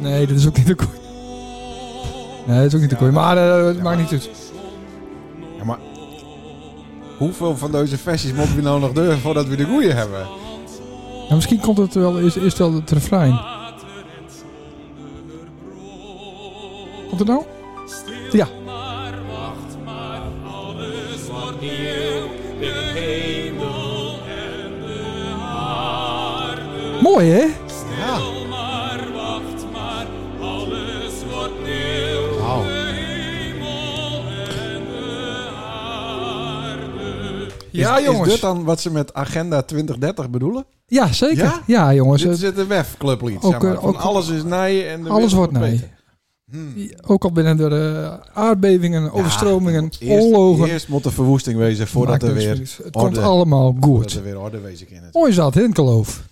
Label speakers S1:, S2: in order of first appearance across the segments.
S1: Nee, dit is ook niet de kooi. Nee, dit is ook niet de kooi. Maar eh, het maakt niet uit.
S2: Ja, maar hoeveel van deze versies moeten we nou nog doen voordat we de goeie hebben?
S1: Ja, Nou, misschien komt het wel eerst, eerst wel het refrein. Komt het nou? Ja. Mooi hè?
S2: Ja. Wauw.
S1: Ja
S2: is,
S1: jongens.
S2: Is dit dan wat ze met Agenda 2030 bedoelen?
S1: Ja zeker. Ja,
S2: Ja?
S1: jongens. eh,
S2: dit
S1: het-
S2: is het een wefclublied,
S1: ook,
S2: zeg maar.
S1: eh,
S2: Van
S1: ook-
S2: alles is nij en de
S1: Alles
S2: wereld
S1: wordt nij.
S2: beter.
S1: Ook al binnen door eh, aardbevingen, overstromingen,
S2: Eerst-
S1: oorlogen.
S2: Eerst moet de verwoesting wezen voordat
S1: Maakt
S2: er
S1: niks
S2: weer
S1: meer uit. Het
S2: orde-
S1: komt allemaal
S2: voordat
S1: goed.
S2: er weer orde wezen in het.
S1: Mooi zat, hè, een geloof.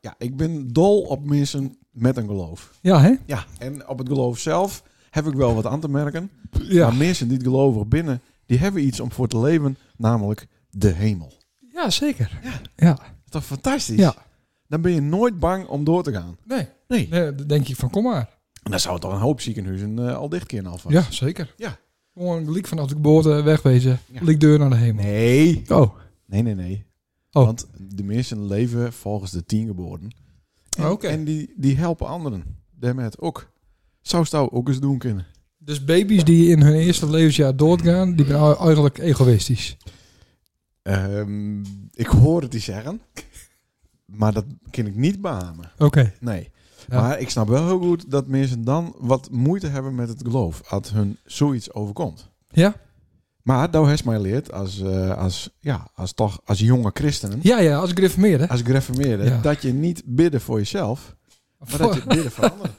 S2: Ja, ik ben dol op mensen met een geloof.
S1: Ja, hè?
S2: Ja, en op het geloof zelf heb ik wel wat aan te merken.
S1: Ja.
S2: Maar mensen die het geloven binnen, die hebben iets om voor te leven, namelijk de hemel.
S1: ja, zeker. Ja.
S2: Dat is toch fantastisch?
S1: Ja.
S2: Dan ben je nooit bang om door te gaan.
S1: Nee.
S2: Nee.
S1: nee. Dan denk ik van, kom maar.
S2: En dan zou toch een hoop ziekenhuizen eh, al dicht kunnen alvast.
S1: Ja, zeker.
S2: Ja.
S1: Gewoon liek vanaf de geboorte wegwezen.
S2: Ja.
S1: Liek deur naar de hemel.
S2: Nee.
S1: Oh,
S2: Nee, nee, nee.
S1: Oh.
S2: Want de mensen leven volgens de tien geboden. En,
S1: Ah, Oké.
S2: en die, die helpen anderen. Daarmee ook. Zou Stouw ook eens doen kunnen.
S1: dus baby's die in hun eerste levensjaar doodgaan, die zijn ei- eigenlijk egoïstisch.
S2: Ehm, ik hoor het die zeggen. Maar dat kan ik niet beamen.
S1: Oké.
S2: Nee.
S1: Ja.
S2: Maar ik snap wel heel goed dat mensen dan wat moeite hebben met het geloof. Als hun zoiets overkomt.
S1: Ja?
S2: Maar daar heeft mij geleerd als, eh, als, ja, als, toch, als jonge christenen.
S1: Ja, ja, als gereformeerd, hè?
S2: Als gereformeerde.
S1: Ja.
S2: Dat je niet bidden voor jezelf. Maar dat je bidden voor anderen.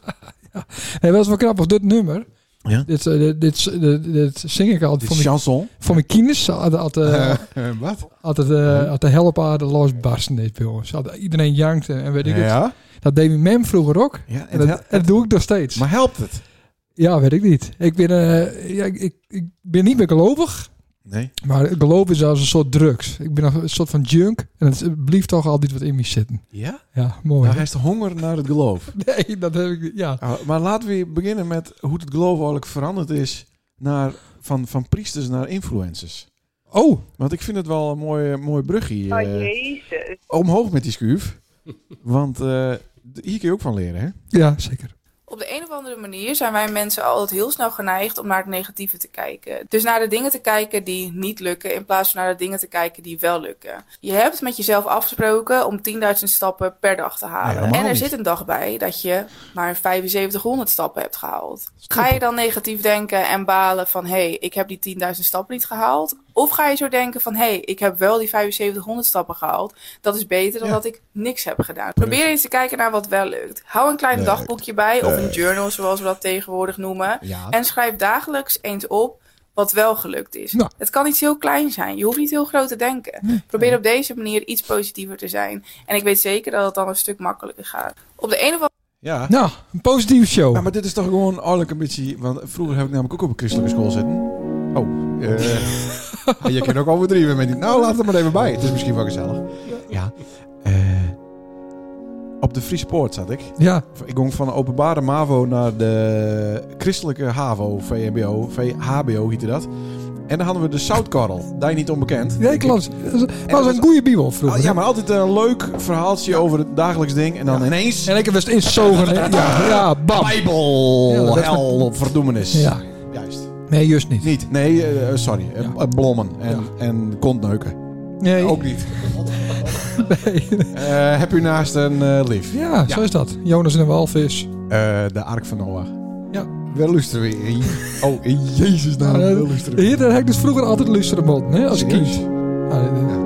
S1: Hey, wel is wel grappig, dit nummer.
S2: Ja.
S1: Dit, eh, dit, dit, dit, dit zing ik altijd
S2: Dit
S1: voor
S2: is
S1: mijn,
S2: chanson.
S1: voor mijn kines. Altijd, altijd,
S2: Eh, wat?
S1: altijd, eh, altijd helpen, de losbarsten dit bij ons. Altijd Iedereen jankt en en weet ik het.
S2: Ja.
S1: Dat deed mijn mem vroeger ook.
S2: ja
S1: En dat,
S2: het hel-
S1: en dat doe ik nog steeds.
S2: maar helpt het?
S1: Ja, weet ik niet. Ik ben, eh, ja, ik, ik, ik ben niet meer gelovig.
S2: Nee.
S1: Maar geloof is als een soort drugs. Ik ben nog een soort van junk. En het blijft toch altijd wat in me zitten.
S2: Ja?
S1: Ja, mooi.
S2: Nou, hij is de honger naar het geloof.
S1: Nee, dat heb ik niet. Ja.
S2: Ah, Maar laten we beginnen met hoe het geloof eigenlijk veranderd is naar, van, van priesters naar influencers.
S1: Oh,
S2: Want ik vind het wel een mooi, mooi brugje.
S3: Oh,
S2: eh,
S3: jezus.
S2: omhoog met die schuif. Want eh, d- hier kun je ook van leren, hè?
S1: ja, zeker.
S4: Op de een of andere manier zijn wij mensen altijd heel snel geneigd om naar het negatieve te kijken. Dus naar de dingen te kijken die niet lukken, in plaats van naar de dingen te kijken die wel lukken. Je hebt met jezelf afgesproken om 10.000 stappen per dag te
S2: Nee,
S4: halen.
S2: helemaal
S4: en er
S2: niet.
S4: zit een dag bij dat je maar 7500 stappen hebt gehaald. Ga je dan negatief denken en balen van hé, hey, ik heb die 10.000 stappen niet gehaald? Of ga je zo denken van hé, hey, ik heb wel die 7500 stappen gehaald. Dat is beter dan
S2: Ja.
S4: dat ik niks heb gedaan. Probeer eens te kijken naar wat wel lukt. Hou een klein
S2: Leuk.
S4: dagboekje bij of een
S2: Leuk.
S4: journal zoals we dat tegenwoordig noemen.
S2: Ja.
S4: En schrijf dagelijks eens op wat wel gelukt is.
S1: Nou.
S4: Het kan iets heel klein zijn. Je hoeft niet heel groot te denken. Probeer op deze manier iets positiever te zijn. En ik weet zeker dat het dan een stuk makkelijker gaat. Op de een of
S2: Ja.
S1: Nou, een positieve show.
S2: Ja, maar dit is toch gewoon eigenlijk een beetje... Want vroeger heb ik namelijk ook op een christelijke school zitten. Oh, eh je kan ook overdrijven met die... Nou, laat het maar even bij. Het is misschien wel gezellig. Ja. eh, op de Friese Poort zat ik.
S1: Ja,
S2: Ik ging van de openbare MAVO naar de christelijke HAVO, VMBO, VHBO heette dat. En dan hadden we de zoutkorrel, daar niet onbekend.
S1: nee, klopt. Dat was- dat was
S2: was-
S1: een goede bibel vroeger.
S2: Ah, Ja, maar altijd een leuk verhaaltje over het dagelijks ding. En dan ineens...
S1: En ik was inzogen. hè. Ja, ja, bam.
S2: Bijbel,
S1: Ja, dat is-
S2: hel, op verdoemenis.
S1: Ja.
S2: Juist.
S1: Nee, juist niet.
S2: Niet, nee, eh, sorry. Eh, eh, blommen en, en kontneuken.
S1: Nee.
S2: Ook niet.
S1: Nee.
S2: Eh, heb u naast een eh, lief?
S1: Ja, zo is dat. Jonas en een walvis.
S2: Eh, de Ark van Noah.
S1: Ja.
S2: Wel luisteren we. in. Oh, in Jezus naam. Wel luisteren we.
S1: Hier, daar heb ik dus vroeger altijd luisteren moeten, hè, als
S2: Serieus?
S1: kind. Ah, Ja, dat-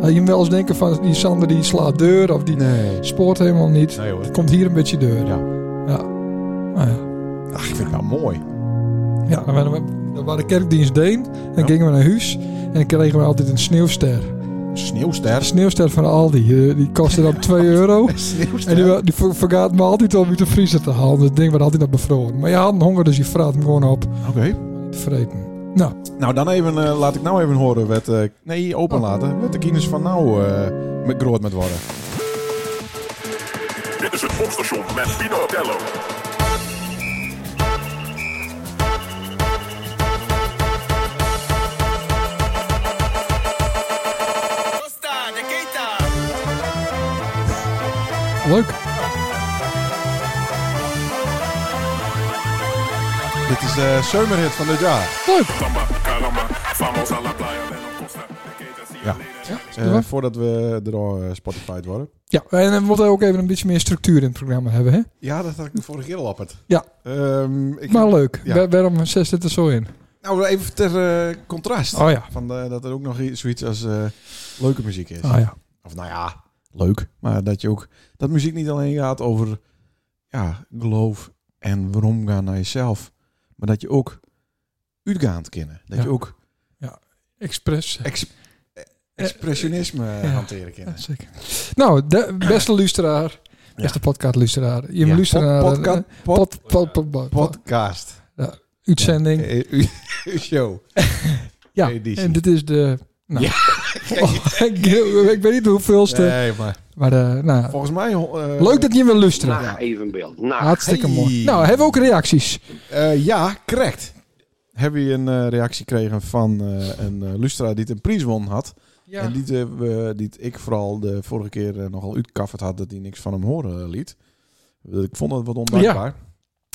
S1: Had je hem wel eens denken van die Sander die slaat deur of die
S2: Nee.
S1: spoort helemaal niet.
S2: Nee hoor.
S1: Het komt hier een beetje deur.
S2: Ja.
S1: Ja. Nou ja.
S2: Ach, ik vind het wel mooi.
S1: ja dan waren we, dan waren de kerkdienst Deen en gingen we naar huis en dan kregen we altijd een sneeuwster.
S2: Sneeuwster.
S1: Een sneeuwster van Aldi, eh, die kostte dan 2 euro. En die,
S2: Sneeuwster.
S1: wa- die ver- vergaat me altijd om uit de vriezer te halen. Dat ding werd altijd nog bevroren. Maar je had een honger, dus je vraagt hem gewoon op
S2: Oké.
S1: te vreten. Nou,
S2: Nou, dan even, eh, laat ik nou even horen wat, eh, nee, open laten. Wat de kines van nou eh, met groot met worden.
S5: Dit is
S3: het popstation met Pino Tello.
S5: Costa de Keita.
S1: Leuk.
S2: Dit is de zomerhit van dit jaar.
S1: Leuk.
S3: Samba, caramba, vamos a la playa de la Costa. De Keita, zie je
S2: Ja.
S3: leden.
S2: Eh,
S1: Ja.
S2: voordat we door eh, Spotify'd worden.
S1: Ja, en we moeten ook even een beetje meer structuur in het programma hebben, hè?
S2: Ja, dat had ik de vorige keer al apperd.
S1: Ja.
S2: Ehm, ik,
S1: Maar leuk.
S2: Ja.
S1: Wa- Waarom zes dit er zo in?
S2: nou, even ter eh, contrast.
S1: Oh ja.
S2: Van de- dat er ook nog i- zoiets als eh, leuke muziek is.
S1: Ah ja.
S2: Of nou ja, leuk. Maar dat je ook dat muziek niet alleen gaat over ja, geloof en waarom gaan naar jezelf. Maar dat je ook uitgaand kennen. Dat
S1: Ja.
S2: je ook
S1: Express.
S2: ex- eh, expressionisme
S1: eh, ja.
S2: hanteren kennen.
S1: Ja, zeker. Nou, de beste luisteraar. Beste podcastluisteraar. Je
S2: Ja,
S1: moet luisteren naar...
S2: pod-
S1: een-
S2: podca- pod-
S1: pod, pod, pod, pod-
S2: podcast.
S1: uitzending.
S2: Eh, u- uw show.
S1: Ja,
S2: editie.
S1: en dit is de... Nou.
S2: Ja.
S1: Oh, ik, ik weet niet hoeveelste.
S2: Nee, maar
S1: Maar eh, nou,
S2: volgens mij... eh,
S1: leuk dat je wil luisteren.
S6: Naga evenbeeld. Naga.
S1: Hartstikke
S2: Hey.
S1: mooi. Nou, hebben we ook reacties?
S2: Eh, ja, correct. Hebben we een eh, reactie gekregen van eh, een eh, Lustra die het een prijs won had. En die, eh, we- die het ik vooral de vorige keer eh, nogal uitkafferd had dat hij niks van hem horen eh, liet. Eh, Ik vond dat wat ondankbaar.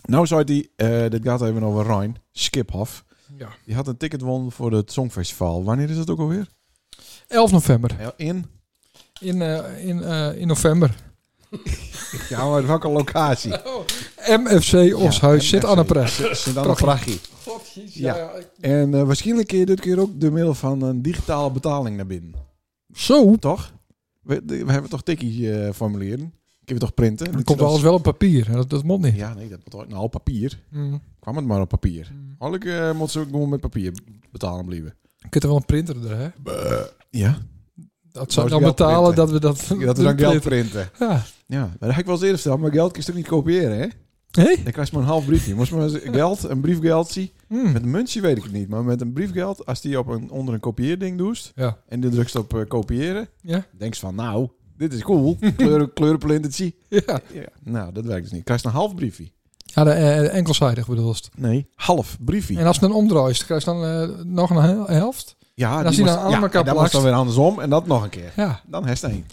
S2: Nou zei hij, eh, dit gaat even over Rijn, Skiphoff.
S1: Ja.
S2: Die had een ticket won voor het Songfestival. Wanneer is dat ook alweer?
S1: 11 november.
S2: In?
S1: In, eh, in, eh, in november.
S2: Ja, maar welke locatie?
S1: MFC Oshuis
S2: Ja,
S1: zit
S2: MFC.
S1: aan de pres.
S2: Sint-Anne Prachie. ja, En eh, waarschijnlijk kun je dit keer ook door middel van een digitale betaling naar binnen.
S1: Zo.
S2: Toch? We, de- we hebben toch tikkie eh formulieren? Kunnen we toch printen?
S1: Dan komt alles wel op papier. Dat, dat moet niet.
S2: Ja, nee, dat moet nou op papier.
S1: Mm.
S2: Kwam het maar op papier. Eigenlijk eh moet ze ook gewoon met papier betalen blijven.
S1: Je kunt er wel een printer er, hè?
S2: Ja,
S1: Dat
S2: Zou
S1: zou
S2: ze
S1: dan
S2: geld
S1: betalen
S2: printen?
S1: dat we dat...
S2: dat we dan geld printen.
S1: Ja.
S2: Ja, maar dat heb ik wel eens eerder verteld, maar geld kun je toch niet kopiëren, hè?
S1: Hé?
S2: Dan krijg je maar een half briefje. Moest maar eens geld, een briefgeld zien.
S1: Mm.
S2: Met een muntje weet ik het niet, maar met een briefgeld, als die op een, onder een kopieerding doest
S1: Ja.
S2: en die drukt op eh, kopiëren,
S1: Ja.
S2: denk je van, nou, dit is cool. Kleuren, kleurenplint, het zie.
S1: Ja.
S2: Ja, nou, dat werkt dus niet. Krijg je een half briefje.
S1: Ja, de, eh, enkelzijdig bedoel je.
S2: Nee. Half briefie.
S1: En als je dan omdraait, krijg je dan eh, nog een hel- helft?
S2: ja,
S1: en als
S2: die
S1: hij
S2: moest-
S1: nou aan elkaar
S2: en dan was
S1: plakt.
S2: dan weer andersom en dat nog een keer.
S1: Ja.
S2: Dan heeft hij.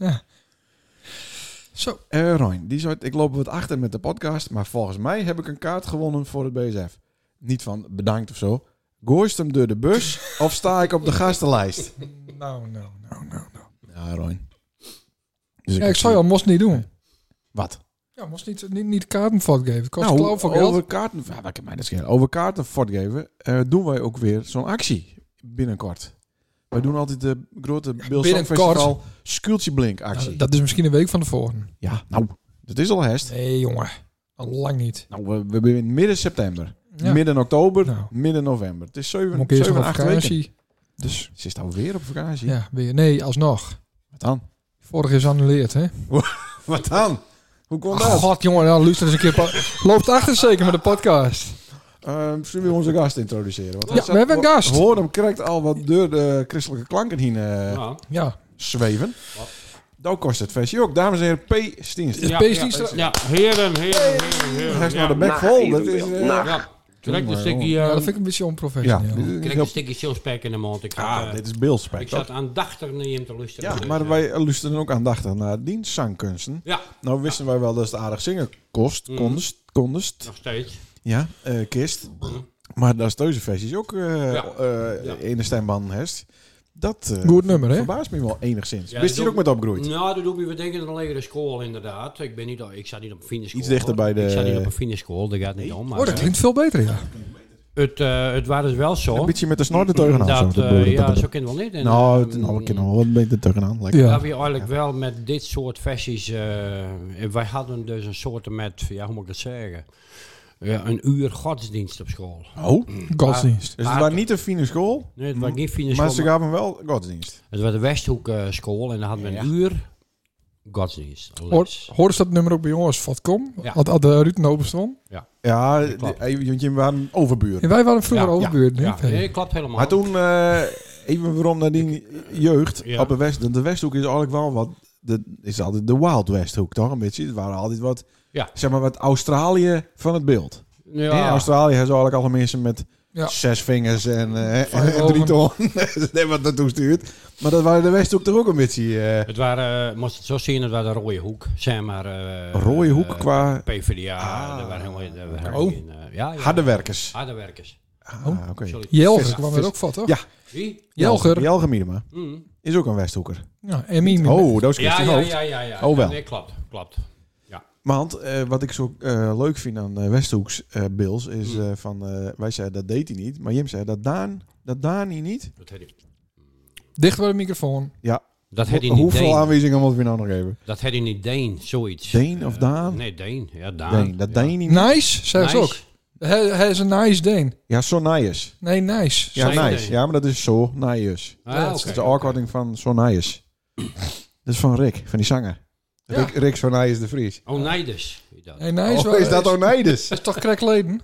S1: Zo.
S2: Eh Ryan, die zei, ik loop wat achter met de podcast, maar volgens mij heb ik een kaart gewonnen voor het BSF. Niet van bedankt of zo. Gooist hem door de bus of sta ik op de gastenlijst?
S1: Nou, nou, nou, nou.
S2: Ja, Ryan. Dus
S1: Ja, ik zou je al moest niet doen.
S2: Wat?
S1: Ja, moest niet, niet, niet kaartenfout geven. Kost
S2: Nou,
S1: klauw voor geld.
S2: Over kaarten, ja, wat kan mij dat schelen? Over kaarten voortgeven eh, doen wij ook weer zo'n actie binnenkort. Wij doen altijd de grote Beeldsong
S1: Binnenkort.
S2: Festival Skultje Blink actie.
S1: Nou, dat is misschien een week van tevoren.
S2: Ja, nou, dat is al herst.
S1: Nee, jongen. Al lang niet.
S2: Nou, we, we beginnen midden september.
S1: Ja.
S2: Midden oktober,
S1: Nou.
S2: midden november. Het is 7,
S1: Moet ik eerst
S2: 7
S1: nog op
S2: 8 weken.
S1: vakantie. Dus
S2: Ze is nou weer op vakantie.
S1: ja, weer. Nee, alsnog.
S2: Wat dan?
S1: Vorig is annuleerd, hè?
S2: Wat dan? Hoe kon
S1: Oh,
S2: dat?
S1: god, jongen. Nou, luister eens een keer. pa- Loopt achter zeker met de podcast.
S2: Ehm, zullen we onze gast introduceren? Want hij
S1: Ja,
S2: zat-
S1: we hebben een gast.
S2: Hoor hem correct al wat door de christelijke klanken heen eh,
S7: Ja.
S1: Ja.
S2: zweven. Dan kost het feestje ook. Dames en heren, P. Stienstra.
S7: Ja,
S1: Peesdienstra-
S7: ja, heren, heren, heren, heren.
S2: Hij is nou de
S7: Ja,
S2: bek
S6: Naga
S2: vol. Dat is,
S6: evenbeeld.
S2: eh,
S6: Naga.
S7: ja. direct een
S2: Jongen,
S7: stukje,
S1: ja, dat
S7: eh,
S1: vind ik een beetje
S2: ja,
S1: onprofessioneel.
S2: dit is
S7: direct een
S2: heel-
S7: stukje chillspek in de mond. Ik, zat,
S2: Ah,
S7: eh,
S2: dit is
S7: ik
S2: Bilspijk.
S7: zat
S2: toch?
S7: aandachtig naar hem te luisteren.
S2: Ja,
S7: Dus,
S2: maar
S7: eh,
S2: wij luisterden ook aandachtig naar dienstzangkunsten.
S7: Ja,
S2: Nou wisten wij wel dat het aardig zingen kost,
S7: Mhm.
S2: konst, konst.
S7: nog steeds.
S2: Ja, eh, kist. Maar dat is deze versies ook eh,
S7: Ja.
S2: eh,
S7: Ja.
S2: in de stemband hest. Dat eh,
S1: Goed nummer, hè?
S2: verbaast me wel enigszins.
S7: Ja,
S2: Wist
S7: dat
S2: je er
S7: doe-
S2: ook met opgroeid?
S7: Nou, dat doe ik we denken aan een lagere school inderdaad. Ik, ben niet, al- ik zat niet op een fine school.
S2: Iets dichter
S7: hoor.
S2: bij de-
S7: Ik zat niet op een fine school, dat gaat niet om. Maar,
S1: Oh, dat
S7: eh,
S1: klinkt veel beter, ja.
S7: het, eh, het was dus wel zo.
S2: Een beetje met de snor er tegenaan. zo,
S7: dat,
S2: te
S7: eh,
S2: boeren,
S7: ja,
S2: te-
S7: zo kan het wel niet. En,
S2: Nou,
S7: eh,
S2: het- nou, we kennen wel wat beter tegenaan. Lekker.
S1: Ja.
S7: Dat we eigenlijk wel met dit soort versies. eh, en wij hadden dus een soort met, ja, hoe moet ik dat zeggen? Ja, een uur godsdienst op school.
S2: Oh.
S7: Hm,
S1: Godsdienst.
S2: Dus het was niet een fine school,
S7: Ah, Nee, het was geen fine
S2: maar
S7: school,
S2: ze
S7: maar
S2: gaven wel godsdienst.
S7: het was de Westhoek eh, school en dan hadden we een uur godsdienst. les.
S1: Hoor, hoor eens dat nummer ook bij jongens van Kom?
S7: Ja.
S1: Had, had de Ruud nou Nobel stond.
S2: Ja, die-
S7: klopt.
S2: eh, want je waren een overbuur.
S1: En wij waren vroeger
S7: Ja, ja,
S1: overbuurd.
S7: Ja,
S1: hè?
S7: nee, klopt helemaal.
S2: Maar toen, eh, even waarom naar die jeugd
S7: Ja.
S2: op de West. De Westhoek is eigenlijk wel wat de, is altijd de Wild West hoek, toch? Een beetje. Het waren altijd wat,
S7: Ja.
S2: zeg maar, wat Australië van het beeld. In Australië hebben ze eigenlijk alle mensen met
S1: Ja.
S2: zes vingers en, eh, en
S1: ogen.
S2: drie ton. Nee, wat naartoe stuurt. Maar dat waren de Westhoek toch ook een beetje... eh,
S7: Het waren, eh, moest je het zo zien, het waren de rode hoek. Zeg maar, eh,
S2: Rode hoek
S7: eh,
S2: qua-
S7: PvdA,
S2: Ah.
S7: daar waren helemaal daar waren
S1: Oh.
S7: geen, eh, ja, ja.
S2: harde werkers.
S7: Harde werkers.
S2: Ah, oké.
S7: Sorry.
S1: Jelger
S7: Vis-
S1: kwam
S7: vis-
S1: er ook van, toch?
S2: Ja.
S7: Wie?
S1: Jelger.
S2: Jelger Miedema.
S7: Mm.
S2: Is ook een Westhoeker.
S1: Ja, Emmy.
S2: Oh, dat is
S7: Ja,
S2: Christine
S7: ja,
S2: Hoofd.
S7: ja, ja, ja.
S2: Oh, wel.
S7: Nee, klopt, klopt.
S2: Want eh, wat ik zo eh, leuk vind aan eh, Westhoeks eh Bills is eh, van... eh, wij zeiden dat deed hij niet. Maar Jim zei dat Daan... Dat Daan hij niet.
S7: Dat had hij,
S1: Dicht bij de microfoon.
S7: dat had hij
S2: Ho-
S7: niet
S2: hoeveel
S7: Deen.
S2: aanwijzingen moet we nou nog geven?
S7: Dat had hij niet Deen, zoiets.
S2: Deen of
S7: Eh,
S2: Daan?
S7: nee, Deen. Ja, Daan.
S2: Deen. Dat
S7: ja.
S2: Deen hij niet.
S1: Nice, zei
S7: Nice.
S1: ze ook. Hij, hij is een nice Deen.
S2: Ja, zo nice.
S1: Nee, nice.
S2: Ja,
S7: Zijn
S2: nice.
S7: idee.
S2: Ja, maar dat is zo nice.
S7: Ah,
S1: Ja,
S7: oké,
S1: het is
S2: Dat is de
S7: oké.
S2: afkorting van zo nice. Dat is van Rick, van die zanger.
S7: Ja.
S2: Rick, Rick zo nice de Vries.
S7: Oneiders. Oh, heet dat.
S1: Nee, nice.
S2: oh,
S1: wel-
S2: is dat Oneides?
S1: is toch crackleden?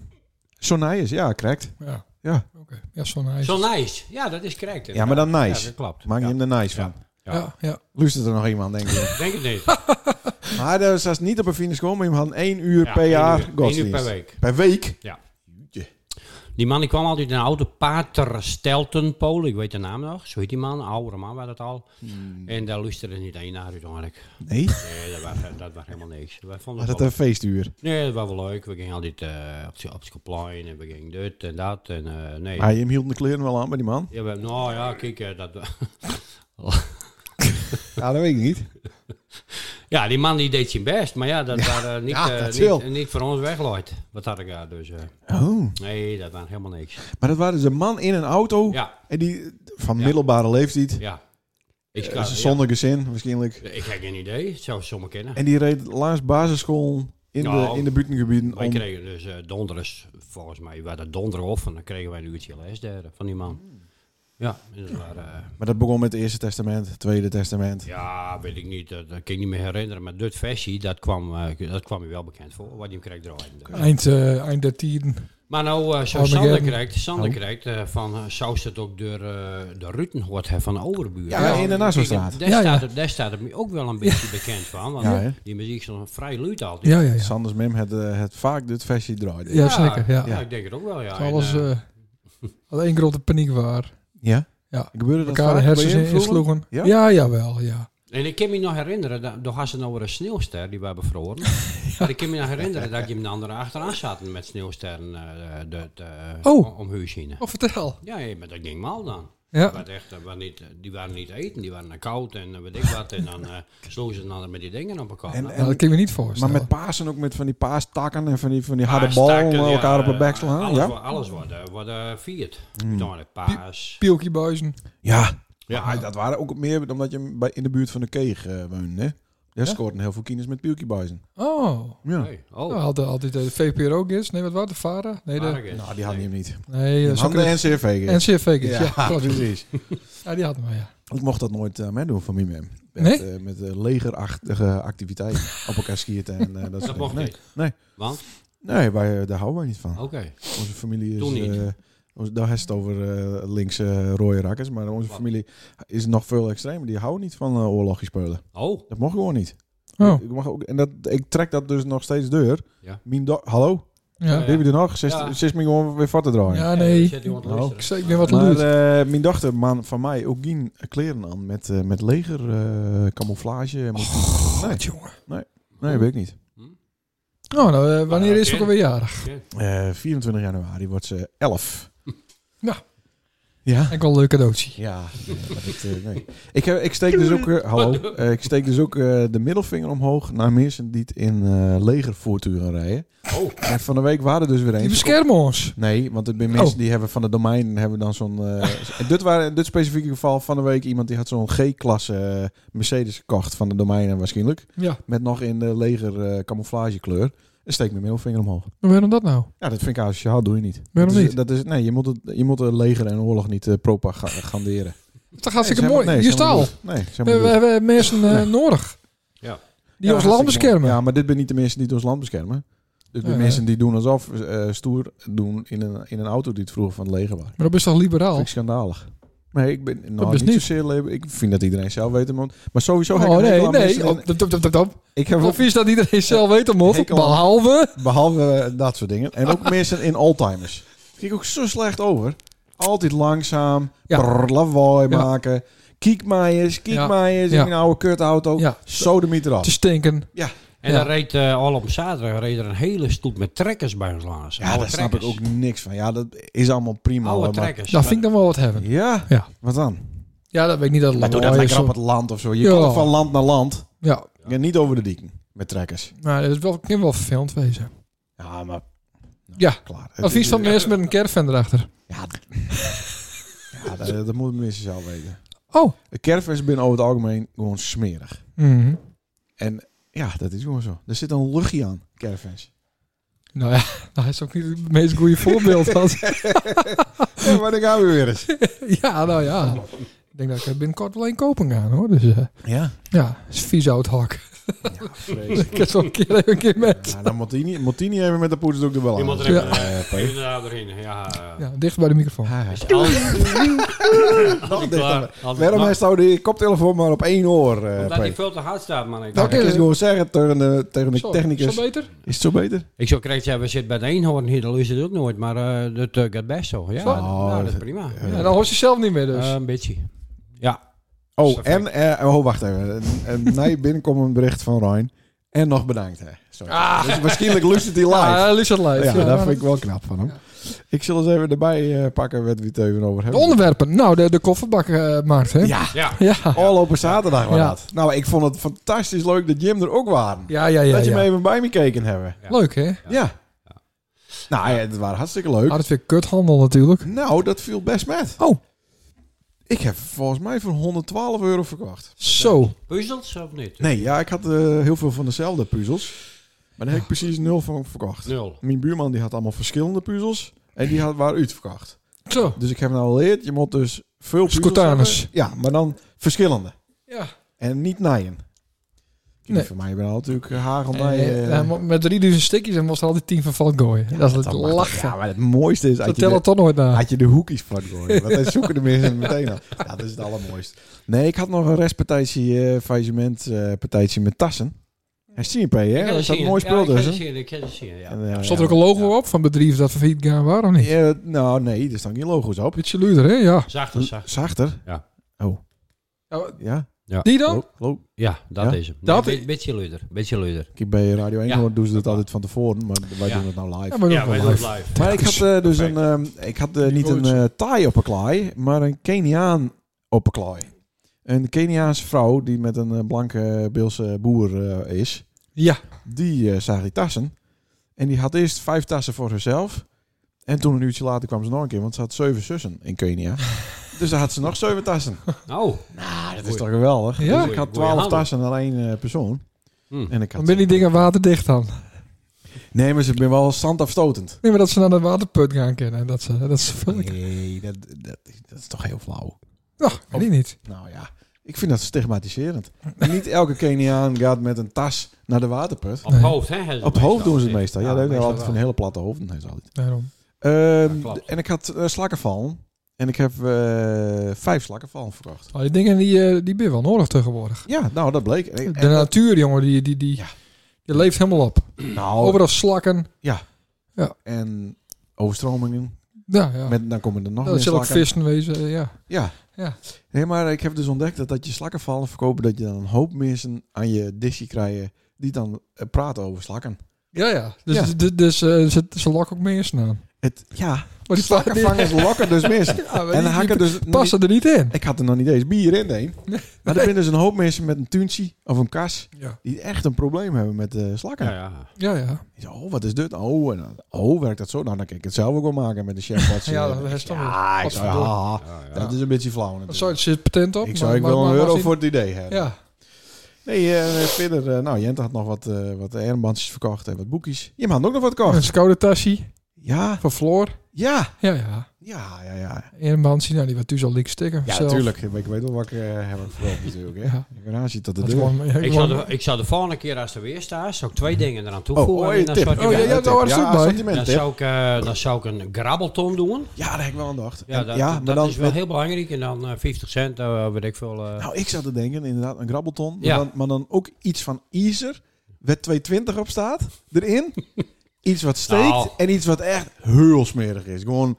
S2: zo nice, ja, correct.
S1: Ja.
S2: Ja.
S1: Oké. Ja, zo nice.
S7: Zo nice. Ja, dat is correct.
S2: Ja, maar dan
S7: inderdaad.
S2: nice.
S7: Ja, dat klopt.
S2: Maak je
S7: Ja.
S2: hem er nice
S7: Ja.
S2: van.
S7: Ja.
S1: Ja, ja.
S2: Luistert er nog iemand, denk ik.
S7: Denk het niet.
S2: maar dat was niet op een fine school, maar je had één uur
S7: Ja,
S2: per
S7: één
S2: jaar
S7: uur. Eén uur
S2: godsdienst.
S7: per week.
S2: Per week?
S7: Ja.
S2: Jeetje.
S7: Die man die kwam altijd in een oude pater Steltenpolen, ik weet de naam nog, zo heet die man, een oude man was dat al.
S2: Hmm.
S7: En daar luisterde niet één naar uit eigenlijk.
S2: Nee,
S7: Nee, dat was, dat was helemaal niks. Wij vonden
S2: was
S7: het
S2: dat eh,
S7: wel-
S2: een feestuur?
S7: Nee, dat was wel leuk. We gingen altijd eh, op het- op het koplein en we gingen dit en dat en eh, nee.
S2: Hij hem hield de kleren wel aan bij die man.
S7: Ja, we- nou ja, kijk, eh, dat...
S2: Ja, dat weet ik niet.
S7: ja, die man die deed zijn best, maar ja, dat waren niet,
S2: ja,
S7: eh,
S2: dat wil.
S7: niet, niet voor ons weglooid. Wat had ik daar dus? eh,
S2: Oh.
S7: nee, dat was helemaal niks.
S2: Maar dat waren dus een man in een auto
S7: Ja,
S2: en die van
S7: Ja.
S2: middelbare leeftijd.
S7: ja. Ik,
S2: Dat is
S7: ja.
S2: een zonder gezin, waarschijnlijk.
S7: ik heb geen idee, het zou zomaar kennen.
S2: En die reed langs basisschool in,
S7: Nou,
S2: de, in de buitengebieden
S7: Wij
S2: om...
S7: kregen dus eh donders, volgens mij, waren dat donderhof en dan kregen wij een uurtje les daar van die man. Ja, en dat waren, eh,
S2: Maar dat begon met het Eerste Testament, het Tweede Testament.
S7: ja, weet ik niet, dat, dat kan ik niet meer herinneren, maar dit versie, dat kwam, eh, dat kwam je wel bekend voor, wat je hem kreeg draaien.
S1: Eind, eh eind der tien.
S7: Maar nou, eh zo
S1: Armageddon.
S7: Sander krijgt, Sander
S2: Oh.
S7: krijgt eh, van, eh, zou ze het ook door eh, de Ruiten hoort hè, van Overbuur.
S2: Ja, ja, in de Nassaustraat.
S7: Daar,
S1: Ja, ja.
S7: staat het, daar staat het me ook wel een beetje bekend van, want
S2: Ja, hè?
S7: die muziek is nog vrij luid altijd.
S1: Ja, ja, ja.
S2: Sanders Mim had, eh, had vaak dit versie draaid.
S1: Ja, zeker. Ja.
S7: ik denk het ook wel, ja. En,
S1: Alles
S7: eh,
S1: eh had één grote paniek waar.
S2: Ja?
S1: Ja.
S2: Gebeurde dat
S1: Elkaar de
S2: vaak bij
S1: hersens
S2: je
S1: in-
S2: vroeger?
S1: insloegen.
S2: Ja?
S1: Ja? ja, jawel. Ja.
S7: En ik kan me nog herinneren, dat- toen had ze nou weer een sneeuwster die we hebben verloren. Maar ik kan me nog herinneren dat ik hem de andere achteraan zat met sneeuwsterren eh de, de,
S1: Oh.
S7: om- om huis heen.
S1: Oh, vertel.
S7: Ja, ja, maar dat ging mal dan.
S1: Ja.
S7: Wat echt, eh, wat niet, eh, die waren niet eten, die waren eh, koud en eh, weet ik wat. En dan eh sloegen ze dan met die dingen op elkaar.
S2: En-
S7: Nou,
S1: Nou, dat kan ik me niet voorstellen.
S2: Maar met Pasen ook met van die paastakken en van die, van die harde bal
S7: paastakken, ja,
S2: elkaar op de bek
S7: eh,
S2: slaan.
S7: Alles,
S2: Ja? Hmm.
S7: wordt- alles wordt, eh, wordt eh, vierd. Uiteindelijk paas.
S1: Pielkiebuizen.
S2: Ja.
S7: Ja.
S2: Maar Ah, dat waren ook meer omdat je bij, in de buurt van de keeg eh, woonde. Hè? Daar scoorden heel veel kinders met pielkiebuizen.
S1: Oh.
S2: Ja.
S7: Hey,
S1: Nou,
S7: oh,
S1: had de- altijd de VPRO gids. Nee, wat was de VARA? Nee, de,
S7: Marcus.
S2: Nou, die hadden hem niet.
S1: nee
S2: Die
S1: dat is ook
S2: hadden de
S1: een
S2: NCRV. gids.
S1: NCFV gids. Ja,
S2: Ja,
S1: klopt.
S2: precies.
S1: Ja, die hadden we, ja.
S2: Ik mocht dat nooit eh meedoen van Mimem. Met,
S1: Nee?
S2: eh, met eh, legerachtige activiteiten. op elkaar schieten en eh, dat soort
S7: Dat mocht
S2: dingen.
S7: niet.
S2: Nee.
S7: Want?
S2: Nee, wij, eh, daar houden wij niet van.
S7: Oké.
S2: Onze familie is...
S7: Toen niet.
S2: eh, onze- daar heeft het over eh, linkse rode rakkers. Maar onze
S7: Wat?
S2: familie is nog veel extremer. Die houden niet van eh, oorlogjes spelen.
S7: Oh,
S2: Dat mocht gewoon niet.
S1: Oh,
S2: Ik, mag ook, en dat, ik trek dat dus nog steeds deur.
S7: Ja.
S2: Mijn do- Hallo?
S1: ja.
S7: Ja.
S2: Heb je er nog? Zes,
S7: Ja.
S2: zes me gewoon weer vat te draaien.
S1: Ja,
S7: eh,
S1: nee.
S7: zet iemand
S2: Nou,
S1: Ik
S7: luisteren.
S1: zei, ik ben wat
S2: Maar
S1: luid.
S2: eh, mijn dochter man, van mij ook geen kleren aan met, eh, met leger eh, camouflage. en- nee.
S1: God, Oh, jongen.
S2: nee, weet ik niet.
S1: Nou, nou, eh, wanneer is ze ook
S7: oké.
S1: alweer jarig?
S2: Eh, 24 januari wordt ze 11.
S1: Ja.
S2: Ja.
S1: Ik wel een leuk cadeautje.
S2: Ja, ja, maar dat, eh, nee. ik, heb, ik steek dus ook, eh, hallo, Eh, ik steek dus ook eh, de middelvinger omhoog naar mensen die het in eh legervoertuigen rijden.
S7: Oh.
S2: En van de week waren er dus weer
S1: Die
S2: eens.
S1: beschermen ons.
S2: Nee, want het zijn mensen
S1: Oh.
S2: die hebben van de domein hebben dan zo'n. eh, en dit waren in dit specifieke geval van de week iemand die had zo'n G-klasse eh, Mercedes gekocht van de domeinen waarschijnlijk.
S1: Ja,
S2: Met nog in de leger eh, camouflagekleur. En steek mijn middelvinger omhoog.
S1: maar waarom dat nou?
S2: Ja, dat vind ik asociaal, doe je niet.
S1: Waarom
S2: dat is,
S1: niet?
S2: Dat is, nee, je moet, het, je moet de leger en oorlog niet eh, propaganderen.
S1: Dat is hartstikke
S2: Nee,
S1: mooi.
S2: zeg maar- nee,
S1: je
S2: zeg maar
S1: staal.
S2: goed. Nee, zeg
S1: We,
S2: maar
S1: we
S2: goed.
S1: hebben mensen eh, nodig.
S7: Ja.
S1: Die
S2: Ja,
S1: ons
S2: hartstikke
S1: land
S2: mooi.
S1: beschermen.
S2: Ja, maar dit ben niet de mensen die ons land beschermen. Dit zijn
S1: Ja,
S2: mensen die doen alsof eh, stoer doen in een, in een auto die het vroeger van het leger was.
S1: Maar dat is toch liberaal?
S2: Vind ik schandalig. Nee, ik ben nou,
S1: is
S2: niet
S1: Oh. niet.
S2: zozeer label. Ik vind dat iedereen zelf weet, man. Maar sowieso heb ik
S1: Oh
S2: een
S1: nee,
S2: hekel aan
S1: nee.
S2: mensen-
S1: Oh, top, top, top, top, top.
S2: ik heb
S1: Of is dat iedereen zelf weet om of?
S2: Hekel aan-
S1: Behalve.
S2: Behalve eh, dat soort dingen. En ook mensen in Alzheimer's. Kijk ook zo slecht over. Altijd langzaam.
S1: Ja.
S2: Prrr, lawaai
S1: Ja.
S2: maken. Kiekmaaiers, kiekmaaiers.
S1: Ja.
S2: In een oude kutauto.
S1: Ja.
S2: Sodemiet eraf.
S1: Te stinken.
S7: En
S1: Ja.
S7: dan reed eh, al op zaterdag reed er een hele stoet met trekkers bij ons langs.
S2: ja,
S7: Oude
S2: daar snap ik
S7: trekkers.
S2: ook niks van. Ja, dat is allemaal prima. hoor,
S7: Oude
S2: maar-
S7: trekkers.
S1: Dat vind ik dan wel wat hebben.
S2: Ja?
S1: Ja.
S2: wat dan?
S1: Ja, dat weet ik niet. Dat
S2: Maar doe dat
S1: lawaai
S2: lekker
S1: is
S2: op
S1: zo-
S2: het land of zo. Je
S1: Ja.
S2: kan toch van land naar land.
S1: Ja,
S2: En niet over de dieken met trekkers.
S1: maar dat is wel, kan wel vervelend wezen.
S2: Ja, maar...
S1: Ja.
S2: Nou, klaar.
S1: Advies van
S2: mensen.
S1: mensen met een caravan erachter.
S2: Ja, d- ja dat, dat moeten mensen zelf weten.
S1: Oh.
S2: De caravans binnen over het algemeen gewoon smerig.
S1: Mhm.
S2: En ja, dat is gewoon zo. Er zit een luchtje aan, caravans.
S1: Nou ja, dat is ook niet het meest goede voorbeeld. want-
S2: Ja, maar dan gaan we weer eens.
S1: ja, nou ja. Ik denk dat ik er binnenkort wel een kopen ga, hoor. Dus eh,
S2: Ja.
S1: ja, is vies oud hak.
S2: Vreselijk.
S1: Ik heb zo'n keer even een keer met.
S2: Ja, dan moet die niet, moet die niet even met de poetsdoek er wel
S7: Iemand
S2: aan.
S7: er even,
S1: Ja.
S7: eh, even daar erin. Ja, eh,
S1: Ja, dicht bij de microfoon.
S2: Ah,
S7: is al- al klaar. Al-
S2: Waarom
S7: nou,
S2: heeft nou die koptelefoon maar op één oor, eh
S7: Omdat die
S2: Peter?
S7: veel te hard staat, man. Ik,
S2: Nou, ik
S1: Oké.
S2: eens gewoon zeggen tegen de, tegen de
S1: Zo,
S2: technicus.
S1: Zo beter?
S2: Is het zo beter?
S7: ik zou krijgen, ja, we zitten bij de eenhoorn hier, dat luistert ook nooit, maar eh, dat eh, gaat best zo. Ja,
S1: Zo.
S2: Oh,
S7: nou, dat is prima.
S1: Ja, dan hoor je zelf niet meer dus.
S7: Eh, een beetje. Ja,
S2: Oh,
S7: Zo
S2: en... eh, oh, wacht even. En, en nee, binnenkomt een bericht van Ryan. En nog bedankt, hè. Sorry. Dus waarschijnlijk luistert hij live.
S1: Ja, Lisa live.
S2: Ja,
S1: Ja,
S2: dat
S1: nou,
S2: vind ik wel knap van hem. Ik zal eens even erbij eh, pakken wat we het even over
S1: De
S2: hebben.
S1: onderwerpen. Nou, de, de kofferbakmarkt, hè?
S2: Ja,
S7: ja.
S1: Ja.
S2: al op een zaterdag was
S1: Ja.
S2: dat. Nou, ik vond het fantastisch leuk dat Jim er ook waren.
S1: Ja, ja, ja.
S2: dat je
S1: ja.
S2: hem even bij me gekeken hebben.
S7: Ja.
S1: Leuk, hè? Ah,
S2: Ja. Nou, ja, het waren hartstikke leuk.
S1: Had het weer kuthandel natuurlijk.
S2: Nou, dat viel best met.
S1: Oh,
S2: Ik heb volgens mij voor 112 euro verkocht.
S1: zo.
S7: Puzzels of niet?
S2: Nee, ja, ik had eh, heel veel van dezelfde puzzels. Maar daar heb ik
S1: Ah.
S2: precies nul van verkocht.
S7: Nul.
S2: Mijn buurman die had allemaal verschillende puzzels. En die had, waren uitverkocht.
S1: Zo.
S2: Dus ik heb nou geleerd, je moet dus veel puzzels
S1: Scotanus.
S2: hebben. Ja, maar dan verschillende.
S1: Ja.
S2: En niet naaien. Kijk,
S1: Nee.
S2: Voor mij ben al natuurlijk eh, hagel
S1: Eh,
S2: naaien.
S1: ja, maar met 3000 stikjes en was er altijd 10 van van gooien. dat is het
S2: Dan mag dat.
S1: lachen.
S2: Ja, maar het mooiste is
S1: dat
S2: dat je,
S1: telt
S2: de,
S1: het toch nooit na.
S2: had je de hoekies van gooien. Want dan zoeken de mensen meteen al. Ja, dat is het allermooiste. Nee, ik had nog een restpartijtje, eh faillissement, eh, partijtje met tassen. En CNP, hè?
S7: Ik heb
S2: Dat
S7: het
S2: is dat
S7: zien.
S2: mooi spul
S7: ja, ik heb het
S2: dus. hè?
S7: zien, Ik heb het zien, ja.
S2: En, eh,
S1: Stond er
S2: ja.
S1: ook een logo op van bedrijf dat failliet gaan waren of niet?
S2: Ja, nou, nee, er staan geen logo's op.
S1: Beetje luider, hè? Ja.
S7: Zacht en zacht.
S2: Zachter?
S7: Ja.
S2: Oh,
S1: Ja,
S2: ja.
S1: Die dan?
S2: Lo- lo-
S7: Ja, dat
S2: Ja?
S7: is hem.
S1: Dat
S7: nee,
S1: is-
S7: be- beetje luider. Beetje luider.
S2: Kijk, bij Radio 1
S7: Ja.
S2: hoor doen ze dat altijd van tevoren, maar wij
S7: Ja.
S2: doen het nou live.
S1: Ja, maar
S7: Ja, wij
S1: wel
S7: doen
S1: live.
S7: live.
S2: Maar ik had eh, dus een, ehm, ik had eh, niet een eh Thai op een klaai, maar een Keniaan op een klaai. Een Keniaanse vrouw die met een eh, blanke Beelse boer eh, is,
S1: Ja.
S2: die eh, zag die tassen. En die had eerst vijf tassen voor zichzelf. En toen een uurtje later kwam ze nog een keer, want ze had zeven zussen in Kenia. dus daar had ze nog zeven tassen.
S7: Oh,
S2: Nou, dat is toch geweldig?
S1: Ja.
S2: Dus ik had
S7: Goeie-
S2: twaalf
S7: goeie
S2: tassen aan één eh, persoon.
S7: Hmm.
S2: En ik had
S1: Dan ben die dingen waterdicht dan.
S2: Nee, maar ze ben wel standafstotend.
S1: Nee, maar dat ze naar de waterput gaan kennen. en Dat ze, dat ze vullen.
S2: Nee, dat, dat, is- dat is toch heel flauw.
S1: Nou, weet ik niet.
S2: Nou ja, ik vind dat stigmatiserend. Niet elke Keniaan gaat met een tas naar de waterput.
S7: op het hoofd, hè? hebben ze
S2: Op het hoofd doen ze het
S7: dit.
S2: meestal. Ja, dat hebben
S7: meestal
S2: altijd van
S7: wel.
S2: hele platte hoofden. heeft ze altijd.
S1: Daarom.
S2: Ehm,
S7: Ja, klopt.
S2: en ik had eh, slakkenvallen. En ik heb eh, vijf slakkenvallen verkocht.
S1: Oh, die dingen die, eh, die ben je wel nodig tegenwoordig.
S2: Ja, nou, dat bleek. En ik-
S1: De natuur, jongen, die, die, die,
S2: Ja.
S1: die leeft helemaal op.
S2: nou,
S1: Overal slakken.
S2: en overstromingen.
S1: Nou ja.
S2: Met, dan komen er nog
S1: Dat
S2: meer
S1: zullen ook
S2: slakken.
S1: vissen wezen. eh, Ja.
S2: Ja.
S1: Ja.
S2: Nee, maar ik heb dus ontdekt dat dat je slakkenvallen verkopen... dat je dan een hoop mensen aan je disje krijgen... die dan eh, praten over slakken.
S1: Ja, ja. Dus,
S2: Ja.
S1: dus, dus eh, ze, ze lokken ook meer aan.
S2: Het, ja,
S1: Maar die
S2: slakkenvangers lokken dus mensen.
S1: Ja, maar
S2: En
S1: die-
S2: dan hakken
S1: die
S2: dus...
S1: passen er niet in.
S2: Ik had er nog niet eens bier in, nee.
S1: Nee.
S2: Maar er zijn dus een hoop mensen met een tuintje of een kas...
S1: Ja,
S2: die echt een probleem hebben met eh, slakken.
S7: Ja, ja.
S1: ja. ja.
S2: Ik zei, oh, wat is dit? Oh, en, dan, oh, werkt dat zo? Nou, dan kan ik het zelf ook wel maken met de chef. Wat ze-
S1: Ja, dat is toch
S2: Ja, ik zei,
S1: Godverdomme.
S2: ah,
S7: Ja, ja.
S2: dat is een beetje flauw natuurlijk.
S1: Sorry, het zit patent op.
S2: Ik
S1: maar-
S2: zou ik
S1: maar-
S2: wel
S1: maar-
S2: een
S1: maar
S2: euro
S1: zien-
S2: voor het idee hebben.
S1: Ja,
S2: Nee, eh, verder, eh, nou, Jente had nog wat, eh wat armbandjes verkocht en wat boekjes. Je had ook nog wat
S1: een
S2: gekocht.
S1: schoudertasje
S2: Ja,
S1: van Floor.
S2: ja.
S1: Ja, ja.
S2: Ja, ja, ja.
S1: Herman zien, nou die wat dus al dik stikken.
S2: Ja,
S1: zelf.
S2: natuurlijk. Ik weet wel wat ik eh, heb verkocht natuurlijk. Hè.
S1: Ja.
S2: Ik ben aanzien tot de
S1: Dat is
S2: deur.
S1: gewoon, ja,
S7: Ik
S1: gewoon-
S7: zou, de, ik zou de volgende keer als er weer staat, zou ik twee dingen eraan
S2: Oh,
S7: toevoegen.
S2: oh,
S7: en
S2: je
S7: dan
S2: tip.
S7: zou ik-
S1: Oh, ja, ja, daar was het
S2: ja,
S1: ook bij.
S2: assortiment,
S7: Dan
S2: tip.
S7: zou, ik, eh, dan zou ik een grabbelton doen.
S2: Ja, daar heb ik wel aan gedacht.
S7: Ja,
S2: En-
S7: dat,
S2: ja,
S7: dat,
S2: maar dan
S7: is wel
S2: met-
S7: heel belangrijk. En dan eh, 50 cent, eh, weet ik veel. eh,
S2: Nou, ik zat te denken, inderdaad, een grabbelton. Maar,
S7: Ja.
S2: dan, maar dan ook iets van Easer, wet 220 op staat, erin. iets wat steekt
S7: Nou.
S2: en iets wat echt heel smerig is. Gewoon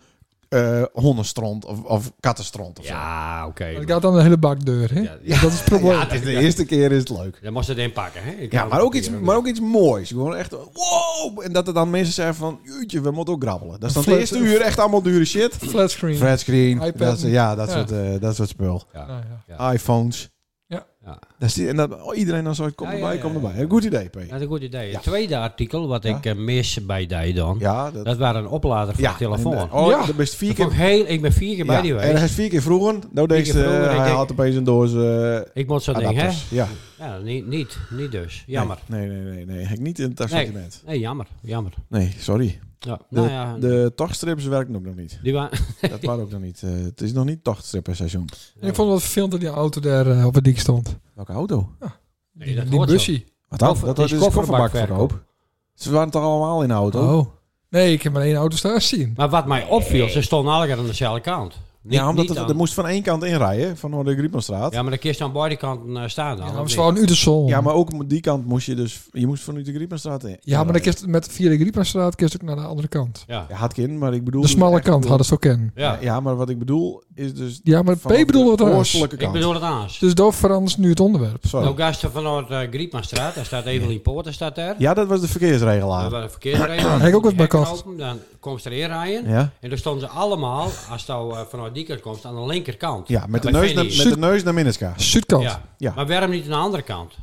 S2: eh hondenstront of, of kattenstront of zo.
S7: ja, oké.
S1: Dat gaat dan de hele bak deur, hè?
S7: Ja,
S2: Ja,
S1: Dat is het probleem.
S2: Ja, het is de eerste keer is het leuk.
S7: Dan moest je het inpakken. Hè? Ik
S2: Ja,
S7: hou
S2: maar
S7: het
S2: ook, iets,
S7: hier. eh,
S2: maar ook iets moois. Gewoon echt, wow! En dat er dan mensen zeggen van, jeetje, we moeten ook grabbelen. Dat is dan de
S1: Flat-
S2: eerste uur echt allemaal dure shit.
S1: Flatscreen.
S2: Flatscreen,
S1: iPad.
S2: dat, is- ja, dat,
S1: Ja.
S2: Soort, eh, dat soort spul.
S7: Ja.
S1: Nou, ja.
S2: iPhones.
S1: Ja.
S7: Ja.
S2: Dat is die, en dat, oh, iedereen dan zo, kom
S7: Ja, ja,
S2: erbij,
S7: ja,
S2: kom
S7: ja.
S2: erbij. Goed idee, P.
S7: Dat is een goed idee.
S2: Ja.
S7: Het tweede artikel wat
S2: Ja.
S7: ik eh, mis bij die dan,
S2: Ja, dat,
S7: dat waren een oplader voor
S2: ja,
S7: de telefoon.
S2: en, eh, oh,
S1: Ja.
S2: dat is vier
S7: ik,
S2: keer.
S7: heb heel, ik ben vier keer bij
S2: Ja,
S7: die
S2: en hij
S7: geweest.
S2: is vier keer vroeger.
S7: keer
S2: Nou, deze, eh,
S7: vroeger, ik
S2: hij
S7: denk-
S2: had opeens een doos eh
S7: Ik moet zo'n ding, hè?
S2: adapters. Ja.
S7: Ja, niet, niet, niet dus. Jammer.
S2: Nee, nee, nee, nee. Heb ik niet in het
S7: Nee,
S2: assortiment.
S7: nee, jammer. jammer.
S2: Nee, sorry.
S7: Ja.
S2: De,
S7: nou ja,
S2: de tochtstrips werken ook nog niet.
S7: die waren...
S2: Dat waren ook nog niet. eh, het is nog niet tochtstrippenseizoen.
S1: En ik vond het wel vervelend dat die auto daar eh, op het dik stond.
S2: Welke auto?
S7: Nee,
S1: Die,
S7: dat
S1: die
S7: hoort
S1: busje.
S2: Wat dan?
S7: Koffer-
S2: Dat
S7: het
S2: was
S7: is
S2: dus een
S7: kofferbakverkoop.
S2: kofferbakverkoop. Ze waren toch allemaal in de auto?
S1: Oh. Nee, ik heb maar één auto staan zien.
S7: Maar wat mij opviel, ze stonden allemaal aan dezelfde kant. Niet-
S2: ja, omdat
S7: niet
S2: het- er
S7: aan-
S2: moest van één kant inrijden, van de Griepmanstraat.
S7: Ja, maar de kist aan beide kanten eh, staan dan.
S1: Ja,
S7: of
S1: we
S7: niet?
S1: staan nu de zon.
S2: Ja, maar ook op die kant moest je dus... Je moest vanuit de Griepmanstraat in.
S1: Ja, maar dan
S2: inrijden.
S1: kist, met via de Griepenstraat kist ook naar de andere kant.
S7: Ja.
S2: Ja, had kind, maar ik bedoel...
S1: De smalle
S2: echt-
S1: kant hadden ze ook kennen.
S7: Ja.
S2: Ja, maar wat ik bedoel is dus...
S1: Ja, maar P
S2: vanaf
S1: bedoelde wat
S2: de
S1: anders.
S2: oostelijke
S7: Ik
S2: kant.
S7: bedoel het anders.
S1: Dus dat verandert nu het onderwerp.
S2: Sorry.
S7: Nou, gasten vanuit eh Griepmanstraat, daar staat Evelien Poorter, staat daar.
S2: Ja, dat was de
S7: Dat
S2: verkeersregelaar.
S7: waren verkeersregels.
S1: Heb ik ook wat bij
S7: Hekken
S1: kocht.
S7: open, Dan komt ze erin rijden.
S2: Ja,
S7: En dan stonden ze allemaal, als je nou, eh, vanuit die kant komt, aan de linkerkant.
S2: ja met, de
S7: Bij
S2: neus naar,
S7: Fanny.
S2: met de neus naar Minneska.
S1: Zuidkant.
S7: Ja.
S2: Ja.
S7: Maar waarom niet aan de andere kant?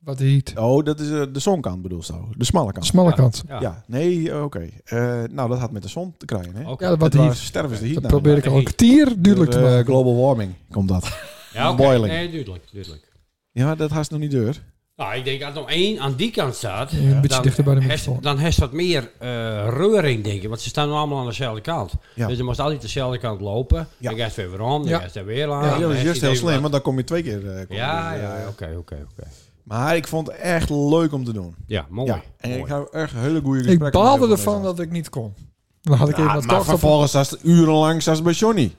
S1: Wat heet.
S2: Oh, dat is eh, de zonkant bedoel je zo. De smalle
S1: De
S2: kant.
S1: smalle
S7: Ja.
S1: kant.
S7: Ja.
S2: Ja, nee, oké. Eh, nou, dat had met de zon te krijgen, hè?
S7: Oké.
S1: Ja, wat
S2: Het
S1: heet.
S2: was stervens de heat.
S1: Dat
S2: namelijk.
S1: probeer ik al een kwartier duidelijk te
S2: Door, eh,
S1: maken.
S2: global warming komt dat.
S7: Ja, oké.
S2: boiling.
S7: Nee, duidelijk, duidelijk.
S2: Ja, dat haast nog niet deur.
S7: Nou, ik denk als er nog één aan die kant staat,
S1: Ja, een beetje
S7: dan,
S1: dichter bij de
S7: heeft-
S1: microfoon.
S7: dan heeft wat meer eh reuring, denk ik. Want ze staan allemaal aan dezelfde kant.
S2: Ja.
S7: Dus je moest altijd dezelfde kant lopen.
S2: Ja.
S7: Dan gaat het weer om, dan
S1: Ja.
S7: gaat het weer aan.
S1: Ja,
S2: Ja,
S7: dan
S2: Ah, dat is
S7: heeft
S2: juist
S7: hij
S2: heel
S7: even
S2: slim,
S7: wat-
S2: want dan kom je twee keer. eh, kom
S7: Ja,
S2: je, eh,
S7: ja, oké, oké, oké.
S2: Maar ik vond het echt leuk om te doen.
S7: Ja, mooi.
S2: Ja, en
S7: mooi.
S2: ik heb echt hele goede gesprekken.
S1: Ik baalde
S2: met
S1: ervan
S2: mensen.
S1: dat ik niet kon. Dan had ik even
S2: Ja,
S1: wat
S2: maar
S1: kort op-
S2: vervolgens was het urenlang zoals bij Johnny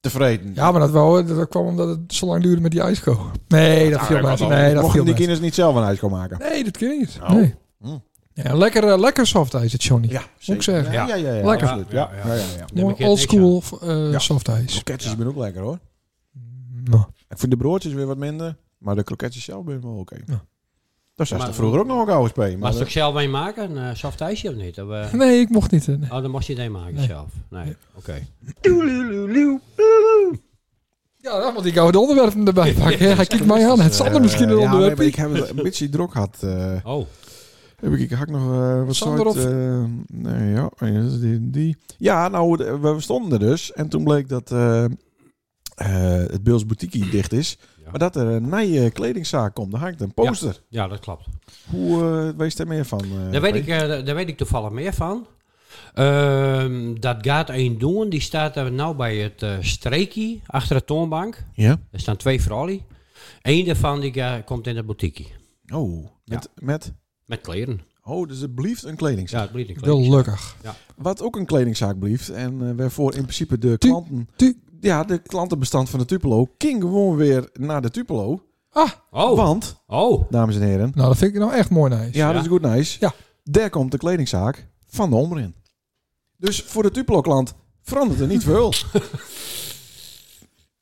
S2: tevreden.
S1: Ja, maar dat, wou, dat kwam omdat het zo lang duurde met die ijsko. Nee, dat viel mij. Nee, dat viel
S2: Mochten die
S1: mij.
S2: kinders niet zelf een ijs komen maken?
S1: Nee, dat kun je niet.
S2: Nou.
S1: Nee.
S2: Hm.
S1: Ja, lekker, eh, lekker soft ijs, het Johnny.
S2: Ja,
S1: Moet ik zeggen.
S2: Ja, ja, ja. ja,
S1: Lekker.
S2: absoluut. Ja, ja, ja. ja,
S7: Neem ik
S1: Mooi
S7: het niks
S1: oldschool eh
S2: Ja. Hm,
S1: soft ijs.
S2: Kroketjes zijn ook lekker hoor.
S1: Nou,
S2: Ik vind de broodjes weer wat minder, maar de kroketjes zelf ben ik wel oké.
S1: Ja.
S2: Dat was
S7: Maar-
S2: er vroeger ook nog een oude spelen.
S7: Maar
S2: Maar
S7: als ik zelf een maken, een eh, soft ijsje of niet? Of, eh,
S1: Nee, ik mocht niet. eh, nee.
S7: Oh, dan mocht je het een maken
S1: Nee.
S7: zelf. Nee, oké.
S1: Ja, dan moet ik oude onderwerpen erbij pakken. Ja, hij kijkt mij aan. Het Sander misschien een
S2: Eh, ja, nee,
S1: onderwerp.
S2: maar ik heb het een beetje drok gehad. eh.
S7: Oh,
S2: heb ik, ik hak nog eh, wat
S1: Sander
S2: soort...
S1: of-
S2: eh, nee, ja, eh, die, die. ja, nou, de- we stonden er dus. En toen bleek dat eh, eh, het Beels Boutique dicht is.
S7: Ja.
S2: Maar dat er een nieuwe kledingzaak komt. Daar hangt een poster.
S7: ja, dat klopt.
S2: Hoe eh wees er meer van? eh,
S7: Daar weet,
S2: P?
S7: ik, eh, daar weet ik toevallig meer van. Ehm, dat gaat één doen. Die staat er nou bij het eh streekje achter de toonbank.
S2: Ja?
S7: Er staan twee vrouwen. Eén daarvan die, eh, komt in de boutique.
S2: Oh, met... met
S7: Met kleren.
S2: Oh, dus het blieft een kledingzaak.
S7: Ja, het blijft een kleren.
S1: Gelukkig.
S2: Wat ook een kledingzaak blieft. En eh, waarvoor in principe de
S1: Tu-
S2: klanten...
S1: tu-
S2: ja, de klantenbestand van de Tupelo ging gewoon weer naar de Tupelo.
S1: Ah,
S7: Oh,
S2: Want,
S7: oh.
S2: dames en heren...
S1: nou dat vind ik nou echt mooi nice.
S2: Ja,
S7: Ja.
S2: dat is goed nice.
S1: Ja.
S2: Daar komt de kledingzaak van de Omrin. Dus voor de Tupelo-klant verandert er niet veel.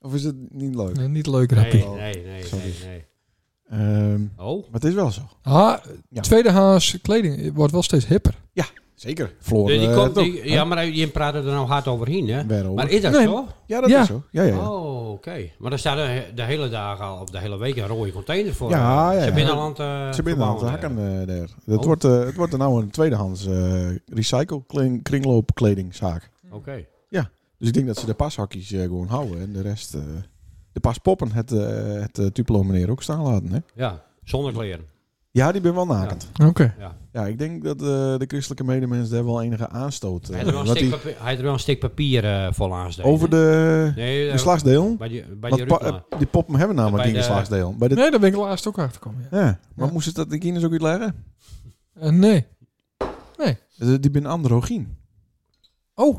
S2: of is het niet leuk?
S1: Eh, Niet leuk, rapje.
S7: Nee, nee, nee, nee, nee.
S2: Ehm,
S7: Oh,
S2: maar het is wel zo.
S1: Ah,
S2: Ja.
S1: tweedehands kleding eh, wordt wel steeds hipper.
S2: Zeker. Floor,
S7: die
S2: eh,
S7: komt,
S2: toch?
S7: die, ja, maar je praat er nou hard overheen, hè?
S2: Waarover?
S7: Maar is dat
S1: Nee.
S7: zo?
S2: Ja, dat
S1: Ja.
S2: is zo. Ja, ja, ja.
S7: Oh, oké. Maar dan staat er de hele dag al, of de hele week, een rode container voor.
S2: Ja, ja, ja.
S7: Ze binnenland eh,
S2: Ze binnen aan het
S7: verbouwen,
S2: hakken
S7: eh.
S2: eh, daar. Het,
S7: Oh.
S2: wordt, eh, het wordt er nou een tweedehands eh recycle kling- kringloopkledingzaak.
S7: Oké.
S2: Dus ik denk dat ze de pashakjes eh, gewoon houden. En de rest, eh, de paspoppen, het, eh, het eh, Tupelo meneer ook staan laten. Hè?
S7: Ja, zonder kleren.
S2: Ja, die ben wel nakend.
S1: Oké.
S7: Ja.
S2: Ja, ik denk dat eh, de christelijke medemens daar wel enige aanstoot eh,
S7: Hij had er wel een
S2: wat
S7: stuk
S2: die-
S7: papier- hij had er wel een stuk papier eh, vol aanstaan.
S2: Over de
S7: nee, eh,
S2: geslachtsdeel.
S7: bij die, bij die
S2: Want pa-
S7: Rukla.
S2: eh, die poppen hebben namelijk
S7: Bij
S2: die
S7: de-
S2: geslachtsdeel. Bij de,
S1: Nee, daar ben ik laatst ook achter gekomen. Ja.
S2: ja. Maar
S1: Ja.
S2: moest het dat de kinderen ook uitleggen?
S1: Eh, nee.
S2: Eh, Die ben androgyn.
S1: Oh.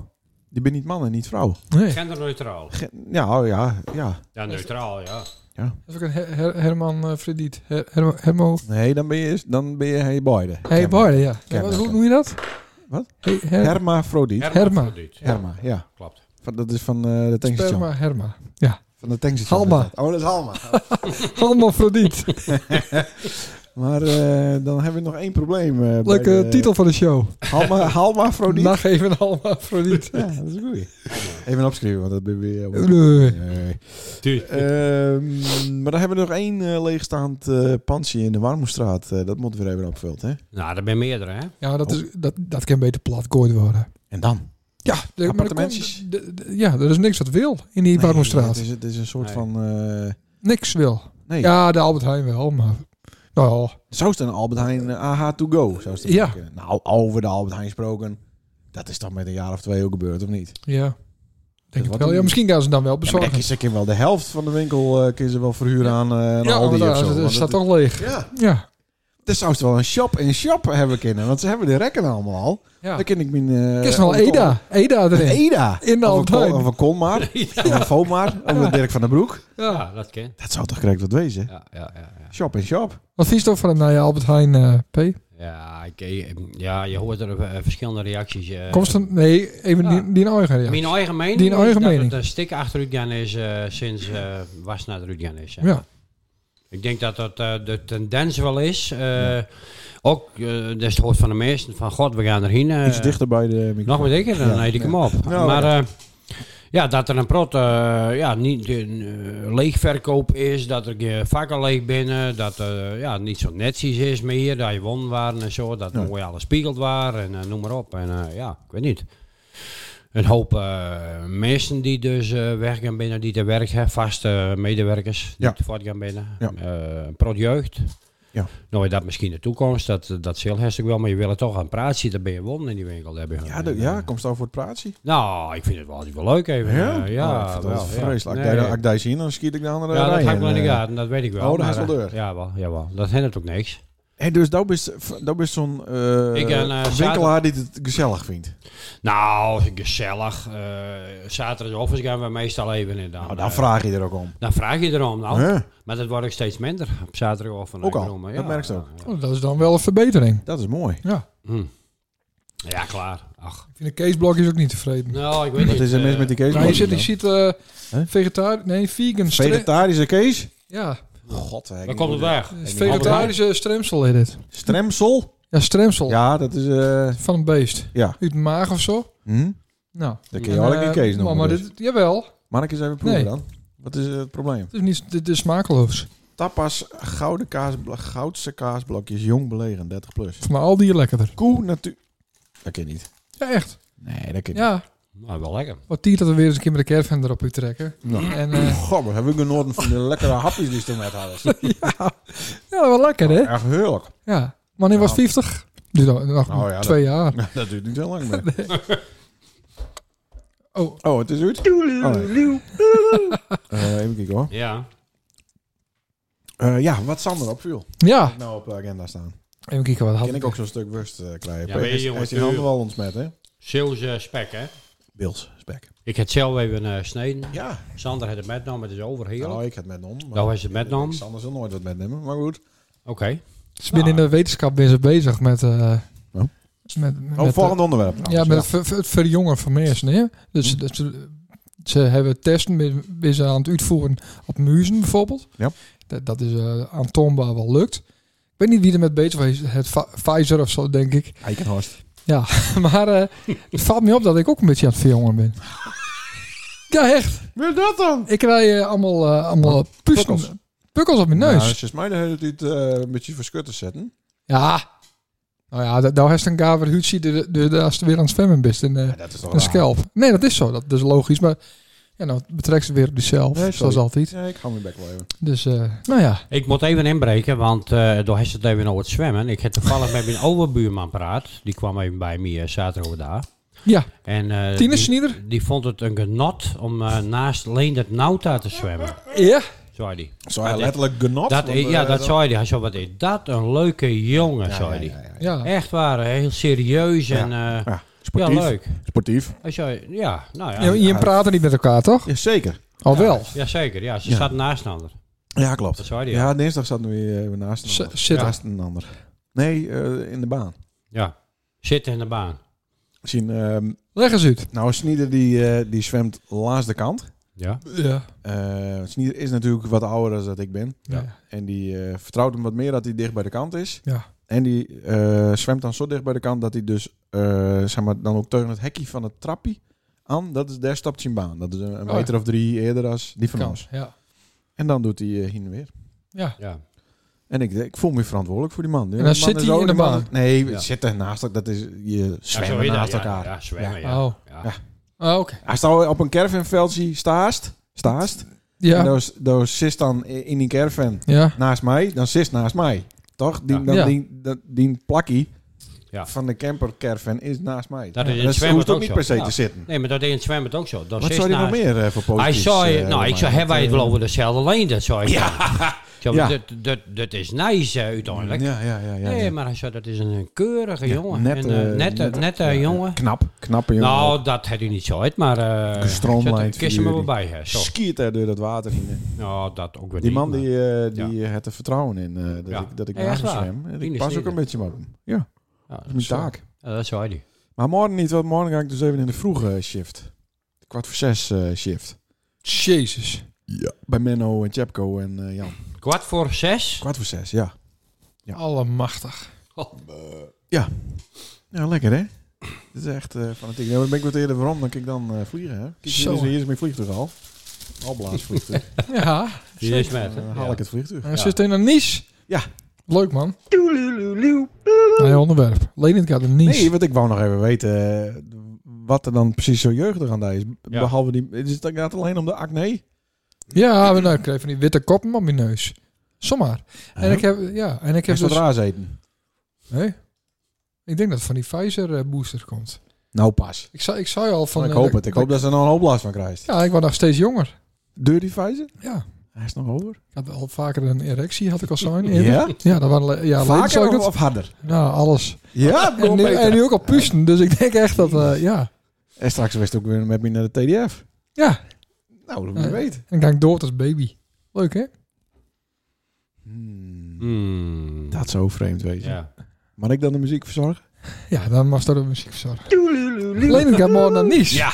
S2: Die ben niet man en niet vrouw.
S1: Nee.
S7: Genderneutraal.
S2: Ge- Ja, oh ja, ja.
S7: Ja, neutraal, ja.
S1: Dat is ook een Her- Her- Herman eh, Frediet. Her- Hermo- Hermo...
S2: Nee, dan ben je, dan ben je hey beide.
S1: Hey, Barden, ja.
S2: Ken
S1: Wat-
S2: me,
S1: hoe
S2: ken.
S1: noem je dat?
S2: Wat?
S1: Hey, her-
S2: Hermafrodiet.
S7: Hermafrodiet. Ja,
S2: Herma, ja.
S7: Klopt.
S2: Van, dat is van eh, de tankstation.
S1: Sperma Herma.
S2: Van de tankstation.
S1: Halma.
S2: Oh, dat is Halma.
S1: Allemaal Frediet.
S2: maar eh, dan hebben we nog één probleem. eh, bij
S1: Leuke
S2: de- Oh,
S1: titel van de show.
S2: Halma, Halmafrodiet.
S1: Nacht even allemaal Frediet.
S2: Ja, dat is een goeie. Even opschrijven, want dat ben
S1: eh,
S2: weer...
S1: Nee.
S2: Nee.
S7: Die-
S2: Eh. Ehm, maar dan hebben we nog één eh, leegstaand eh pandje in de Warmoestraat. Eh, dat moet weer even opgevuld, hè?
S7: Nou, er zijn meerdere, hè?
S1: Ja, dat,
S2: Oh.
S1: is, dat, dat kan beter platgooid worden.
S2: En dan?
S1: Ja, de- maar er
S2: Appartementjes.
S1: komt- de- de- ja, er is niks wat wil in die Warmoestraat.
S2: Het is, het is een soort
S7: Nee.
S2: van... eh,
S1: Niks wil.
S2: nee,
S1: Ja, de Albert Heijn wel, maar... Nou, ja,
S2: zou het een Albert Heijn eh, AH to go? Zou het
S1: Ja.
S2: kunnen? Nou, over de Albert Heijn gesproken. Dat is toch met een jaar of twee ook gebeurd, of niet?
S1: ja. Denk
S2: wat
S1: het wel.
S2: doen
S1: Ja,
S2: we?
S1: misschien gaan ze dan wel
S2: Ja, maar
S1: bezorgen.
S2: kijk, ze kunnen wel de helft van de winkel eh kunnen ze wel verhuren aan eh een
S1: Ja,
S2: Aldi
S1: maar
S2: of
S1: daar-
S2: zo.
S1: het
S2: want
S1: staat
S2: het-
S1: toch leeg.
S2: Ja,
S1: Ja.
S2: dan zou het wel een shop in shop hebben kunnen. Want ze hebben de rekken allemaal al.
S1: ja.
S2: Dan ken ik mijn... eh,
S1: Ik is nog
S2: Aldi-
S1: Eda. Eda
S2: Een
S1: erin.
S2: Eda.
S1: In de
S2: Of een
S1: Albert Heijn.
S2: Kol- Of een Kolmar. Of een Vomar. Of een Dirk van den Broek.
S1: Ja.
S7: Ja, dat ken.
S2: Dat zou toch correct wat wezen?
S7: Ja, ja, ja. ja.
S2: Shop in shop.
S1: Wat vies toch van een je Albert Heijn eh, P?
S7: Ja, ik, eh, ja, je hoort er eh, verschillende reacties. eh.
S1: Komst van... Nee, even
S7: Ja.
S1: die, die een eigen, ja.
S7: Mijn eigen mening
S1: Die een eigen
S7: is dat
S1: mening.
S7: het een stik achter Ruudjan is eh, sinds eh was naar Ruudjan is. ja.
S1: Ja.
S7: Ik denk dat dat eh, de tendens wel is. Eh, Ook, eh, dat is het hoort van de meesten, van god, we gaan erheen. eh,
S2: Iets dichter bij de microfoon.
S7: Nog maar dikker, dan eet ik hem op.
S2: Nou,
S7: maar eh, ja, dat er een prot eh, ja, niet, eh, leegverkoop is, dat er eh, vakken leeg binnen, dat er ja, niet zo netjes is meer, dat je won waren en zo, dat
S2: Nee.
S7: mooi alles spiegeld waren en eh, noem maar op. En eh, ja, ik weet niet. Een hoop eh, mensen die dus eh, weg gaan binnen, die te werk hebben, vaste eh, medewerkers die
S2: Ja.
S7: te voort gaan binnen.
S2: Ja.
S7: Eh, prot jeugd.
S2: Ja.
S7: Nou, dat misschien de toekomst, dat, eh, dat zal hartstikke wel, maar je wil er toch aan praten zitten, ben je won in die winkel. Daar ben je
S2: Ja,
S7: gewoon.
S2: de,
S7: En,
S2: ja,
S7: eh,
S2: komt het over het praatje.
S7: Nou, ik vind het wel altijd wel leuk even.
S2: Ja?
S7: eh, ja,
S2: Oh, ik vind
S7: wel,
S2: dat vreselijk.
S7: Ja,
S2: Als ik daar-
S7: Nee.
S2: Als ik daar zie, dan schiet ik de andere
S7: Ja, dat
S2: rij
S7: hangt wel in de
S2: in, eh.
S7: gaten, dat weet ik wel.
S2: Oh, dat is
S7: maar,
S2: wel
S7: eh,
S2: deur.
S7: Jawel, jawel. Dat hindert ook niks.
S2: Hey, dus dat is, dat is zo'n eh,
S7: Ik en, eh,
S2: winkelaar die het gezellig vindt.
S7: Nou, gezellig. eh zaterdag offers gaan we meestal even in. Dan,
S2: Nou, dan
S7: eh,
S2: vraag je er ook om.
S7: dan vraag je erom, nou.
S2: Hè?
S7: Maar dat wordt ook steeds minder op zaterdag offers.
S2: Ook al, dat merk je ook.
S1: Oh, dat is dan wel een verbetering.
S2: Dat is mooi.
S1: Ja.
S7: Hm. Ja, klaar. Ach.
S1: Ik vind de Keesblok is ook niet tevreden.
S7: Nou, ik weet
S2: Wat
S7: niet. nou,
S2: is er mis met die Kees?
S1: Maar je zit, ik ziet eh
S2: Hè?
S1: vegetarisch... Nee, vegan... stre-
S2: Vegetarische Kees?
S1: ja,
S2: God, hè, ik
S7: Dan komt het
S2: moet-
S7: weg.
S1: het is vegetarische stremsel is dit.
S2: Stremsel?
S1: Ja, stremsel.
S2: Ja, dat is... eh,
S1: Van een beest.
S2: ja.
S1: Uit de maag of zo.
S2: Hm?
S1: Nou.
S2: Dat kun je wel
S1: eh,
S2: een Kees noemen.
S1: Maar, maar
S2: dus.
S1: dit, jawel.
S2: Mag ik eens even proeven
S1: Nee.
S2: dan? Wat is eh, het probleem?
S1: Dit is, niet, dit is smakeloos.
S2: Tapas, gouden kaas, goudse kaasblokjes, jong belegen, 30 plus.
S1: Voor mij al die lekkerder.
S2: Koe natuur... Dat kan niet.
S1: Ja, echt.
S2: Nee, dat kan
S1: Ja.
S7: Nou, wel lekker.
S1: Wat tiert dat we weer eens een keer met de caravan erop u trekken.
S2: niet. Nou.
S1: En eh,
S2: Goh, we hebben genoten van de lekkere hapjes die ze toen met hadden.
S1: ja, wel lekker hè.
S2: Echt heerlijk.
S1: Ja. Wanneer was
S2: Nou.
S1: 50? Dus nog, nog
S2: Nou ja,
S1: twee jaar.
S2: Dat duurt niet zo lang meer.
S1: Oh,
S2: Oh, het is uit. Oh, nee. Eh, even kijken hoor.
S7: Ja.
S2: Eh, ja, wat Sander opviel.
S1: ja.
S2: Nou op de agenda staan.
S1: Even kijken wat had
S2: Ken ik ook zo'n stuk worst eh krijgen.
S7: Ja, weet je,
S2: Hij is- Hij
S7: jongens,
S2: is die handen
S7: eh,
S2: wel ontsmet, hè?
S7: Zeeuwse eh, spek, hè.
S2: Bils, spek.
S7: Ik heb zelf even eh sneden.
S2: Ja.
S7: Sander had het metnaam, het is over heel.
S2: Nou, ik had met om. maar-
S7: Nou, hij is het metnaam. Oké.
S2: Sander zal nooit wat metnemen, maar goed.
S1: Ze zijn in de wetenschap ben ze bezig met... eh, met, met
S2: Oh, volgend onderwerp.
S1: Ja,
S2: trouwens.
S1: met het, ver- ver- het verjongen van mensen. Hè? Dus
S2: Hm.
S1: dat ze, ze hebben testen, ben- ben ze aan het uitvoeren op muizen bijvoorbeeld.
S2: Ja.
S1: Dat, dat is eh, aantoonbaar wel lukt. Ik weet niet wie er met bezig is. Het Va- Pfizer of zo, denk ik.
S2: Eikenhorst.
S1: Maar eh, het valt me op dat ik ook een beetje aan het verjongen ben. Ja, echt.
S2: Weer dat dan?
S1: Ik krijg eh, allemaal, eh, allemaal pusten-
S2: Pukkels.
S1: pukkels op mijn
S2: Nou,
S1: neus.
S2: ze is mij de hele tijd eh, een beetje voor schut te zetten.
S1: Ja. Nou ja, dat- nou heeft een gaver hutsie, dus als je weer aan het zwemmen bent. En, eh,
S2: dat is toch
S1: Een schelp. Nee, dat is zo. Dat is logisch. Maar Ja, nou betrekt ze weer op zichzelf,
S2: Nee, sorry.
S1: zoals altijd.
S2: Ja, ik hou mijn bek wel even.
S1: Dus, eh, nou ja.
S7: Ik moet even inbreken, want eh door heeft het even over het zwemmen. Ik heb toevallig met mijn overbuurman praat. Die kwam even bij mij eh, zaterdag daar.
S1: Ja,
S7: En, eh,
S1: Tine
S7: die,
S1: Snieder?
S7: die vond het een genot om eh, naast Leendert Nauta te zwemmen,
S1: Ja.
S7: zei hij.
S2: Zou hij letterlijk genot?
S7: Dat,
S2: Want,
S7: is- ja,
S2: eh,
S7: dat zei hij. Hij zei, wat is dat een leuke jongen,
S2: Ja,
S7: zei hij.
S2: ja, ja, ja.
S1: Ja.
S7: Echt waar, heel serieus en eh, ja,
S2: Ja, sportief.
S7: leuk.
S2: Sportief.
S7: Hij zei, ja, nou ja.
S1: Ja, maar je praten niet met elkaar, toch?
S2: Jazeker.
S1: Al wel.
S7: Jazeker, ja, ze
S2: Ja.
S7: staat naast elkaar.
S2: Ja, klopt.
S7: Dat zei hij. Ja.
S2: Ja, dinsdag zaten we weer eh, naast een
S1: Z-
S2: ander.
S1: zitten.
S2: Naast een ander. Nee, eh, in de baan.
S7: ja. Zitten in de baan.
S2: Zien, ehm,
S1: Leg eens uit.
S2: nou, Snieder die, eh, die zwemt langs de kant.
S7: Ja.
S1: Ja.
S2: Eh Snieder is natuurlijk wat ouder dan dat ik ben.
S1: Ja.
S2: En die eh, vertrouwt hem wat meer dat hij dicht bij de kant is.
S1: Ja.
S2: En die eh, zwemt dan zo dicht bij de kant dat hij dus eh, zeg maar, dan ook tegen het hekje van het trappie aan. Dat is, daar stapt zijn baan. Dat is een, een
S1: Oh ja.
S2: meter of drie eerder als die van
S1: Kan.
S2: ons.
S1: Ja.
S2: En dan doet hij eh, heen en weer.
S7: ja.
S2: En ik, ik voel me verantwoordelijk voor die man. Die
S1: En dan
S2: man
S1: zit
S2: is
S1: hij
S2: ook-
S1: in de
S2: die man
S1: baan.
S2: is- Nee,
S7: Ja.
S2: zitten naast elkaar. Dat is je
S7: Ja,
S2: zwemmen
S7: zo is dat,
S2: naast
S7: ja,
S2: elkaar.
S7: Ja, zwemmen, ja.
S1: Oh.
S7: Ja.
S2: Ja.
S1: Oh, oké.
S2: Hij staat op een caravanveld, zie staast. Staast. En
S1: Ja.
S2: dan- dan zit dan in die caravan
S1: Ja.
S2: naast mij, dan zit naast mij. Toch? Die,
S7: Ja.
S2: dan,
S1: Ja.
S2: die, dat- die plakkie
S7: Ja.
S2: van de camper caravan is naast mij.
S7: Dat is in het
S2: dus
S7: zwembad
S2: hoeft ook
S7: ook
S2: niet
S7: zo.
S2: per se
S7: Ja.
S2: te zitten.
S7: Nee, maar dat deed in het zwembad ook zo. Dat
S2: Wat
S7: is
S2: zou je nog
S7: naast-
S2: meer eh,
S7: Hij
S2: voor positiefs?
S7: zei,
S2: eh,
S7: nou, ik
S2: Romein?
S7: zei, hebben wij het
S2: Eh,
S7: wel over dezelfde lijn? Dat zei ik. Ja.
S2: Ja.
S7: Dat, dat, dat is nice eh, uiteindelijk.
S2: Ja, ja, ja. ja,
S7: Nee,
S2: ja.
S7: maar hij zei, dat is een keurige jongen.
S2: net,
S7: en, eh,
S2: eh,
S7: nette,
S2: net-
S7: nette
S2: ja, ja.
S7: jongen.
S2: Knap, knappe jongen.
S7: Nou, dat had hij niet zo uit, maar... eh,
S2: Gestroomlijnd
S7: ik zet- Kies hem er wel
S2: figuur
S7: bij, hè. Zo.
S2: Skiert er door dat water heen.
S7: Nou, dat ook weer
S2: Die
S7: niet,
S2: man
S7: maar-
S2: die, eh, die eh, had er vertrouwen in eh, dat,
S7: Ja.
S2: ik, dat ik
S7: Ja,
S2: naast
S7: echt
S2: hem
S7: waar.
S2: zwem. En
S7: Die
S2: Ik
S7: is
S2: pas ook
S7: eerder.
S2: een beetje met hem. Ja, dat
S7: Ja, dat
S2: is mijn
S7: zo-
S2: taak.
S7: Ja, dat zei hij.
S2: Maar morgen niet, want morgen ga ik dus even in de vroege shift. Kwart voor zes eh, shift.
S1: Jezus.
S2: Ja. Bij Menno en Chepco en eh, Jan.
S7: Kwart voor zes.
S2: Kwart voor zes, ja. Ja.
S1: Allemachtig.
S2: Ja, lekker hè? Dit is echt eh fanatiek. Ja, maar dan ben ik wat eerder waarom, dan kan ik dan eh, vliegen hè? Kijk,
S1: Zo.
S2: hier, is, hier is mijn vliegtuig al. Alblaasvliegtuig.
S1: Ja.
S7: Die is met.
S2: Dan
S7: hè?
S2: haal
S7: Ja.
S2: ik het vliegtuig.
S1: En dan zit hij naar Nice.
S2: Ja.
S1: Leuk, man. Nee, onderwerp. Lenint gaat naar Nice.
S2: Nee, want ik wou nog even weten eh, wat er dan precies zo jeugdig aan daar is.
S7: Ja.
S2: Behalve die... Is het, gaat het alleen om de acne?
S1: Ja, maar nou, ik kreeg van die witte koppen op mijn neus. Zomaar. En ik heb, ja, en ik
S2: Ik heb
S1: heb
S2: wat
S1: dus...
S2: raars eten.
S1: Nee. Ik denk dat het van die Pfizer eh, booster komt.
S2: Nou pas.
S1: Ik zei, ik zei al van...
S2: Nou, ik
S1: eh,
S2: hoop
S1: dat-
S2: het. Ik hoop dat ze er nog een hoop last van krijgt.
S1: Ja, ik word nog steeds jonger.
S2: Deur die vijzen?
S1: Ja.
S2: Hij is nog over.
S1: Ik had al vaker een erectie, had ik al zijn. Ja, dat waren... le- Ja, later
S2: Vaker
S1: zei ik
S2: of,
S1: dat.
S2: of harder?
S1: Nou, alles.
S2: Ja,
S1: En nu, en nu ook al pusten, dus ik denk echt dat... eh, ja.
S2: En straks wist ook weer met me naar de TDF.
S1: Ja.
S2: Nou, dat moet je
S1: Eh.
S2: weten.
S1: En dan ga ik dood als baby. Leuk, hè?
S7: Hmm.
S2: Dat zou vreemd wezen.
S7: Ja.
S2: Mag ik dan de muziek verzorgen?
S1: Ja, dan mag dat de muziek verzorgen. Lenint gaat morgen naar Nice.
S7: Ja.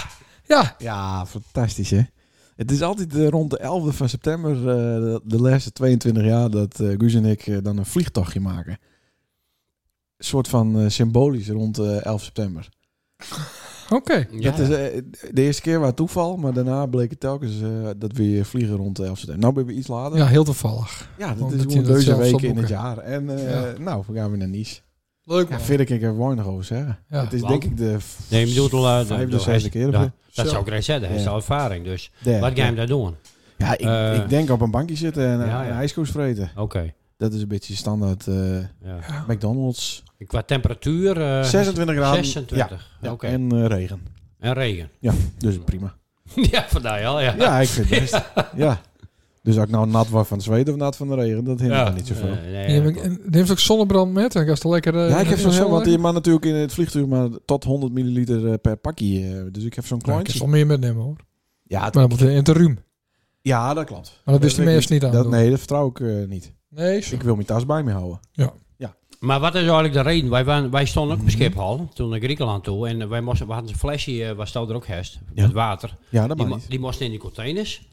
S1: Ja.
S2: Ja, fantastisch hè. Het is altijd eh, rond de 11e van september, eh, de- de laatste 22 jaar, dat eh Guus en ik eh, dan een vliegtochtje maken. Een soort van eh, symbolisch rond eh 11 september.
S1: Oké.
S7: Ja.
S2: Dat is eh, de eerste keer waar toeval, maar daarna bleek het telkens eh, dat we weer vliegen rond de 11 september. Nou ben we iets later.
S1: Ja, heel toevallig.
S2: Ja, dat
S1: Want
S2: is
S1: dat
S2: gewoon
S1: je dat
S2: deze
S1: zelf
S2: week
S1: zal
S2: in het
S1: boeken.
S2: jaar. En eh, nou, we gaan weer naar Nice.
S1: Leuk,
S2: Ja,
S1: man.
S2: verder kan ik er weinig over zeggen.
S1: Ja.
S2: het is
S7: Want?
S2: denk ik de
S7: Nee, je bedoelt al... eh, de-
S2: vijfde,
S7: de-
S2: zesde keer. of
S7: Ja,
S2: zo.
S7: Dat
S1: Zo.
S7: zou ik net zeggen. Hij is
S2: Ja.
S7: al ervaring, dus...
S2: Derde.
S7: Wat ga je hem daar doen?
S2: Ja, ik,
S7: Eh,
S2: ik denk op een bankje zitten en eh,
S7: ja, ja.
S2: een ijskoes vreten.
S7: Oké.
S2: Dat is een beetje standaard eh,
S7: Ja.
S2: McDonald's.
S7: Qua temperatuur... eh,
S2: 26 graden.
S7: 26.
S2: Ja,
S7: Oké.
S2: En eh, regen.
S7: En regen.
S2: Dus prima.
S7: ja, vandaar al, ja.
S2: Ja, ik vind het best. ja. Dus als ik nou nat word van het zweet of nat van de regen, dat hindert me niet zoveel.
S7: Eh, nee,
S1: Die
S7: dat
S1: heeft,
S7: klopt.
S1: ook- en die heeft ook zonnebrand met. En gast lekker. eh,
S2: Ja, ik heb
S1: in
S2: zo'n
S1: de
S2: cel,
S1: zon
S2: want
S1: liggen.
S2: je mag natuurlijk in het vliegtuig maar tot 100 milliliter eh, per pakje. eh, dus ik heb zo'n
S1: Nou, ik heb
S2: kleintje.
S1: wel meer metnemen hoor.
S2: Ja, het-
S1: Maar dan moet je in het ruim.
S2: ja, dat klopt.
S1: Maar dat wist de
S2: weet ik
S1: meest niet aan.
S2: Dat,
S1: doen.
S2: nee, dat vertrouw ik eh, niet.
S1: Nee, zo.
S2: Ik wil mijn tas bij me houden.
S7: Maar wat is eigenlijk de reden? Wij, waren, wij stonden
S2: Mhm.
S7: ook op Schiphol, toen naar Griekenland toe. En eh, wij moesten, we hadden een flesje, eh, wat stond er ook herst,
S2: Ja.
S7: met water.
S2: Ja,
S7: Die,
S2: dat mag
S7: mo-
S2: niet.
S7: die moesten in die containers.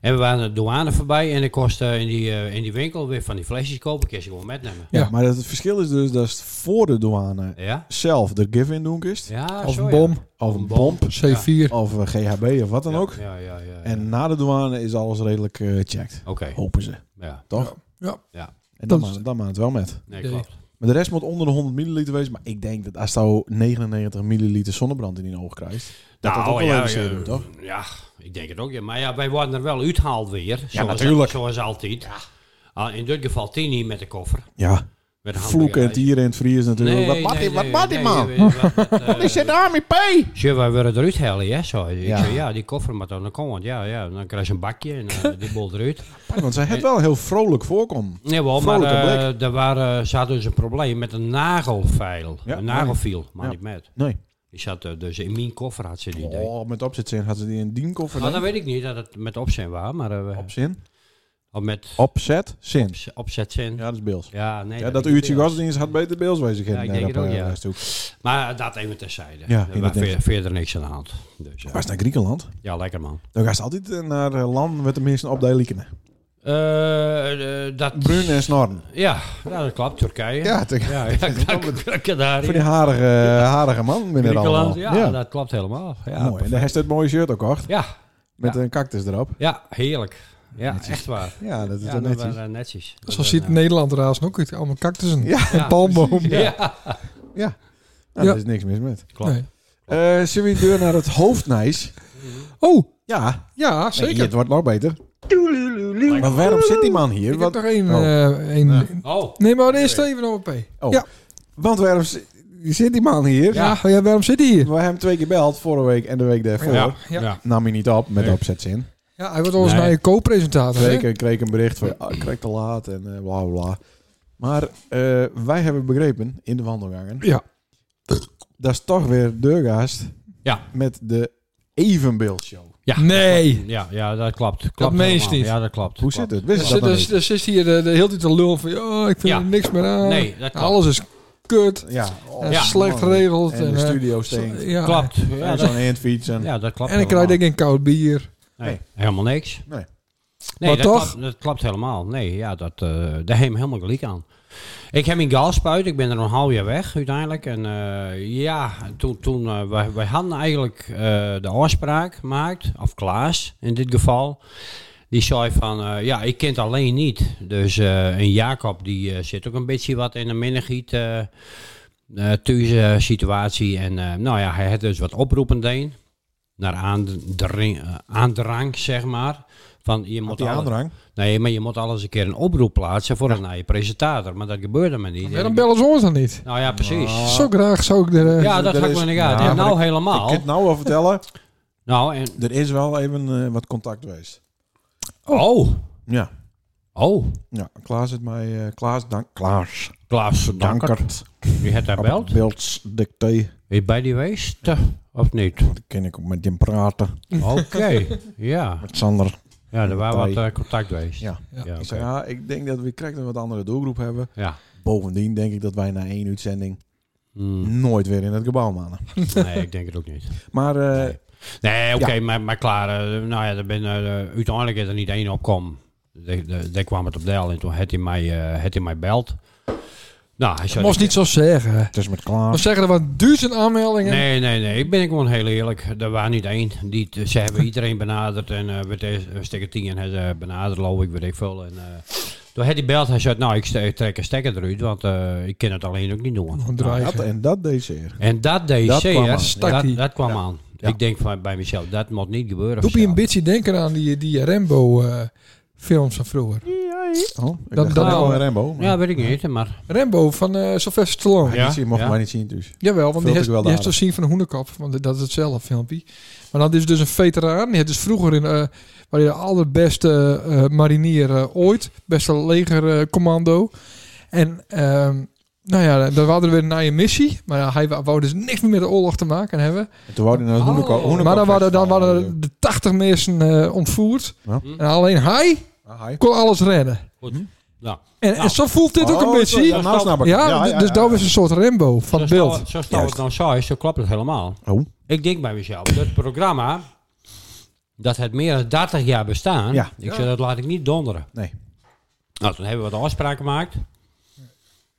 S7: En we waren de douane voorbij. En ik kostte in, die, eh, in die winkel weer van die flesjes kopen. Kun je ze gewoon metnemen.
S2: Ja,
S1: Ja.
S2: maar het verschil is dus dat het voor de douane
S7: Ja?
S2: zelf de give-in doen is.
S7: Ja,
S1: Of
S7: zo,
S1: een
S7: ja.
S1: bom.
S2: Of een pomp.
S1: C4.
S2: Of eh, GHB of wat dan
S7: Ja,
S2: ook.
S7: Ja, ja, ja. ja.
S2: En na de douane is alles redelijk eh, gecheckt.
S7: Oké.
S2: Hopen ze,
S7: Ja,
S2: toch?
S1: Ja.
S7: Ja.
S2: En dan
S1: Dat is-
S2: maakt dan maakt het wel met.
S7: nee,
S1: Nee.
S7: klopt.
S2: Maar de rest moet onder de 100 milliliter wezen. Maar ik denk dat als je 99 milliliter zonnebrand in je oog krijgt, dat dat ook wel
S7: Nou, ja,
S2: even zeer doet, toch?
S7: Ja, ik denk het ook. Ja. Maar ja, wij worden er wel uitgehaald weer. Zoals,
S2: natuurlijk.
S7: Zoals altijd. Ah, in dit geval Tini met de koffer.
S2: Ja,
S7: Met de
S2: vloeken en
S7: hamburger.
S2: tieren en het vriezen natuurlijk.
S7: Nee,
S2: wat maakt
S7: nee,
S2: die- wat
S7: nee,
S2: maakt die
S7: nee,
S2: man?
S7: nee, nee, wat- wat, eh,
S2: Wat is er nou daar mee pay?
S7: Tje, wij willen eruit halen, hè? Zo. Ik
S2: Ja.
S7: zei, ja, die koffer moet dan komen. want Ja, ja, dan krijg je een bakje en eh, die bol eruit.
S2: Want zij heeft wel een heel vrolijk voorkomen.
S7: Nee, wel, maar
S2: Vrolijke
S7: eh, er waren, ze hadden dus een probleem met een nagelfeil.
S2: Ja,
S7: een nagelfiel, maar
S2: Ja.
S7: niet met.
S2: Nee.
S7: Die zat eh, dus in mijn koffer, had ze die idee.
S2: Oh, met opzet zijn had ze die in dienkoffer
S7: Nou, dat
S2: dan?
S7: weet ik niet dat het met opzet was, maar eh, we-
S2: Opzin?
S7: of met
S2: Opzet? Zin.
S7: opz- opzet zijn.
S2: Ja,
S7: Ja,
S2: dat is beels.
S7: nee.
S2: Ja, dat
S7: weet ik
S2: uurtje
S7: niet.
S2: godsdienst had beter beels wezen
S7: Ja, ik
S2: kunnen.
S7: denk
S2: naar
S7: het ook,
S2: dat, eh,
S7: ja.
S2: reis toe.
S7: Maar dat even terzijde.
S2: Ja,
S7: er was
S2: inderdaad.
S7: verder, verder niks aan de hand. Dus, ja.
S2: Was naar Griekenland?
S7: ja, lekker man.
S2: Dan ga ze altijd eh, naar eh, landen met tenminste op de liekenen.
S7: Eh, eh, dat,
S2: Bruin en snorren.
S7: ja, nou, dat klopt. Turkije.
S2: Ja, te-
S7: ja, ja Canarië.
S2: voor die harige, eh, harige man binnen
S7: Griekenland,
S2: allemaal.
S7: ja, dat klopt helemaal. Ja,
S2: Mooi. En daar heeft ze het mooie shirt ook gekocht.
S7: ja,
S2: Met
S7: Ja.
S2: een cactus erop.
S7: ja, heerlijk. Ja, echt waar.
S2: Ja, dat is
S7: Ja,
S2: dan
S7: dat
S2: netjes.
S7: waren netjes.
S1: Zo ziet Nederland razen ook uit. Allemaal cactussen
S2: Ja.
S1: en palmboom.
S7: Ja,
S2: Ja.
S1: Ja.
S2: Nou, daar is niks mis met.
S7: klopt.
S1: Nee.
S2: Eh zullen we deur naar het hoofdnijs?
S1: Oh,
S2: Ja,
S1: ja,
S2: zeker.
S1: zeker.
S2: het wordt nog beter. Maar waarom zit die man hier?
S1: Ik heb
S2: Want,
S1: nog één...
S2: Oh.
S1: eh, één-
S7: Oh,
S1: Nee, maar eerst even op een P.
S2: oh.
S1: Ja.
S2: want waarom zi- zit die man hier?
S1: Ja. oh Ja, waarom zit hij hier?
S2: We hebben hem twee keer beld, vorige week en de week daarvoor.
S7: ja.
S1: Ja.
S7: ja.
S2: Nam hij niet op met
S7: Nee.
S2: opzetzin.
S1: Ja, hij wordt ons
S7: Nee.
S1: naar je co-presentator. hè?
S2: Twee keer kreeg ik een bericht van, ah, ik krijg te laat en eh, bla bla bla. Maar eh, wij hebben begrepen in de wandelgangen,
S1: Ja.
S2: dat is toch weer deurgast
S7: Ja.
S2: met de evenbeeldshow.
S7: Ja.
S1: Nee.
S7: Ja, ja, dat klopt. klopt
S1: meen je
S7: helemaal.
S1: niet.
S7: Ja, dat klopt.
S2: Hoe
S7: Klopt.
S2: zit het? Wist
S1: Dus,
S2: je dat nog
S1: dus,
S2: niet?
S1: dus is hier de, de hele tijd te lul van, oh, ik vind
S7: Ja.
S1: er niks meer aan.
S7: Nee, dat klopt.
S1: Alles is kut.
S2: Ja,
S1: En
S2: ja.
S1: slecht
S2: man.
S1: geregeld.
S2: En de
S1: eh,
S2: studio stinkt.
S1: ja.
S7: Klopt. Ja,
S2: En
S7: dat,
S2: zo'n handfiets. En...
S7: ja, dat klopt.
S1: En ik
S7: helemaal.
S1: krijg denk ik een koud bier.
S7: Nee, helemaal niks.
S2: Nee.
S7: Nee,
S1: Maar
S7: dat,
S1: toch?
S7: Klopt, dat klopt helemaal. Nee, ja, dat, eh daar heb je helemaal gelijk aan. Ik heb in Gaalspuit, ik ben er een half jaar weg uiteindelijk. En eh, ja, toen, toen eh, wij, wij hadden eigenlijk eh, de afspraak gemaakt, of Klaas in dit geval. Die zei van, eh, ja, ik ken het alleen niet. Dus, eh, en Jacob, die eh, zit ook een beetje wat in de minnegiet eh eh, thuis eh, situatie. En eh, nou ja, hij had dus wat oproepen deed. Naar aandring, eh, aandrang, zeg maar. Van, je moet
S2: Die
S7: alle-
S2: aandrang.
S7: Nee, maar je moet alles een keer een oproep plaatsen voor een nieuwe presentator. Maar dat gebeurde me niet.
S1: Waarom bellen ze ons dan niet?
S7: Nou ja, precies.
S1: Zo graag zou ik er... eh,
S7: ja, dat
S2: er
S7: had ik
S2: Oh. is-
S7: me in de gaten.
S2: Ja,
S7: en
S2: maar
S7: nou
S2: Ik
S7: helemaal.
S2: kan het nou wel vertellen.
S7: Nou, en...
S2: Er is wel even eh, wat contact geweest.
S7: Oh,
S2: Ja.
S7: oh.
S2: Ja, Klaas het mij... eh, Klaas, dank, Klaas
S7: Klaas Dankert.
S2: Dankert.
S7: Wie had daar
S2: Oh.
S7: belt?
S2: Beeldsdictee.
S7: Wie bij die geweest? eh, Of niet?
S2: Dan kan ik ook met hem praten.
S7: Oké, ja.
S2: Met Sander.
S7: Ja, er was wat eh, contact geweest.
S2: Ja.
S7: ja,
S2: Ik
S7: oké.
S2: zei, ja, ik denk dat we krijgt een wat andere doelgroep hebben.
S7: ja.
S2: Bovendien denk ik dat wij na één uitzending
S7: Hmm,
S2: nooit weer in het gebouw manen.
S7: nee, ik denk het ook niet.
S2: Maar eh,
S7: Nee. Nee, oké,
S2: Ja.
S7: maar, maar klaar. eh, nou ja, er ben, eh, uiteindelijk is er niet één opkom. Daar- Daar daar kwam het op deel en toen had hij mij, eh, had hij mij beld. Nou, hij
S1: dat
S7: zei...
S1: moest niet zo zeggen.
S2: het is met
S1: Maar
S2: Klaas.
S1: zeggen er wat duizend aanmeldingen.
S7: Nee, nee, nee. Ik ben gewoon heel eerlijk. Er waren niet één. Die, t- ze hebben iedereen benaderd. En eh we te- we steken tien en hebben ze benaderd, geloof ik, weet ik veel. En, eh, toen had hij belt. Hij zei, nou, ik ste- ik trek een stekker eruit, want eh, ik kan het alleen ook niet doen.
S1: Want
S7: Nou,
S1: dreigen.
S2: Dat en dat deed zeer.
S7: En dat deed
S2: Dat
S7: zeer.
S2: kwam aan.
S7: Dat,
S1: Stak die.
S7: dat kwam
S2: Ja.
S7: aan.
S2: Ja.
S7: Ik denk van, bij mezelf, dat moet niet gebeuren.
S1: Doe je
S7: vanzelf.
S1: een beetje denken aan die, die Rambo eh, films van vroeger.
S2: Oh, ik
S1: Dat- nou-
S2: dacht
S1: dat-
S2: wel een Rambo. maar-
S7: Ja, weet ik niet, maar...
S1: Rambo van eh Sylvester Stallone.
S2: Mag je
S7: Ja,
S2: niet zien, mocht
S7: ja.
S2: maar niet zien dus.
S1: Jawel, want die
S2: Vult
S1: heeft,
S2: ik wel
S1: die heeft
S2: aardig.
S1: toch zien van Hoenekop, want dat is hetzelfde filmpje. Maar dat is dus een veteraan. Die heeft dus vroeger in, eh waar hij de allerbeste eh, marinier eh, ooit, beste legercommando. en ehm, nou ja, dan waren we weer naar je missie, maar ja, hij wou dus niks meer met de oorlog te maken hebben.
S2: En toen wouden we naar het
S7: Oh.
S2: Hoeneko- Hoeneko-
S1: maar dan waren, dan
S2: Festival.
S1: waren de 80 mensen eh, ontvoerd
S2: Ja.
S1: en alleen hij
S2: Ah, hi.
S1: kon alles redden.
S7: Goed. Ja.
S1: En, en zo voelt dit ook
S2: Oh,
S1: een beetje.
S2: zo-
S1: Ja,
S2: nou Hm? snap ik.
S1: dus dat was een soort Rambo van
S7: Zo
S1: het
S7: stel-
S1: beeld.
S7: Zo stel het nou zo is, zo klopt het helemaal.
S2: Oh.
S7: Ik denk bij mezelf, dat programma, dat het meer dan 30 jaar bestaan.
S2: Ja.
S7: Ik zei, dat laat ik niet donderen.
S2: Nee.
S7: Nou, toen hebben we wat afspraken gemaakt.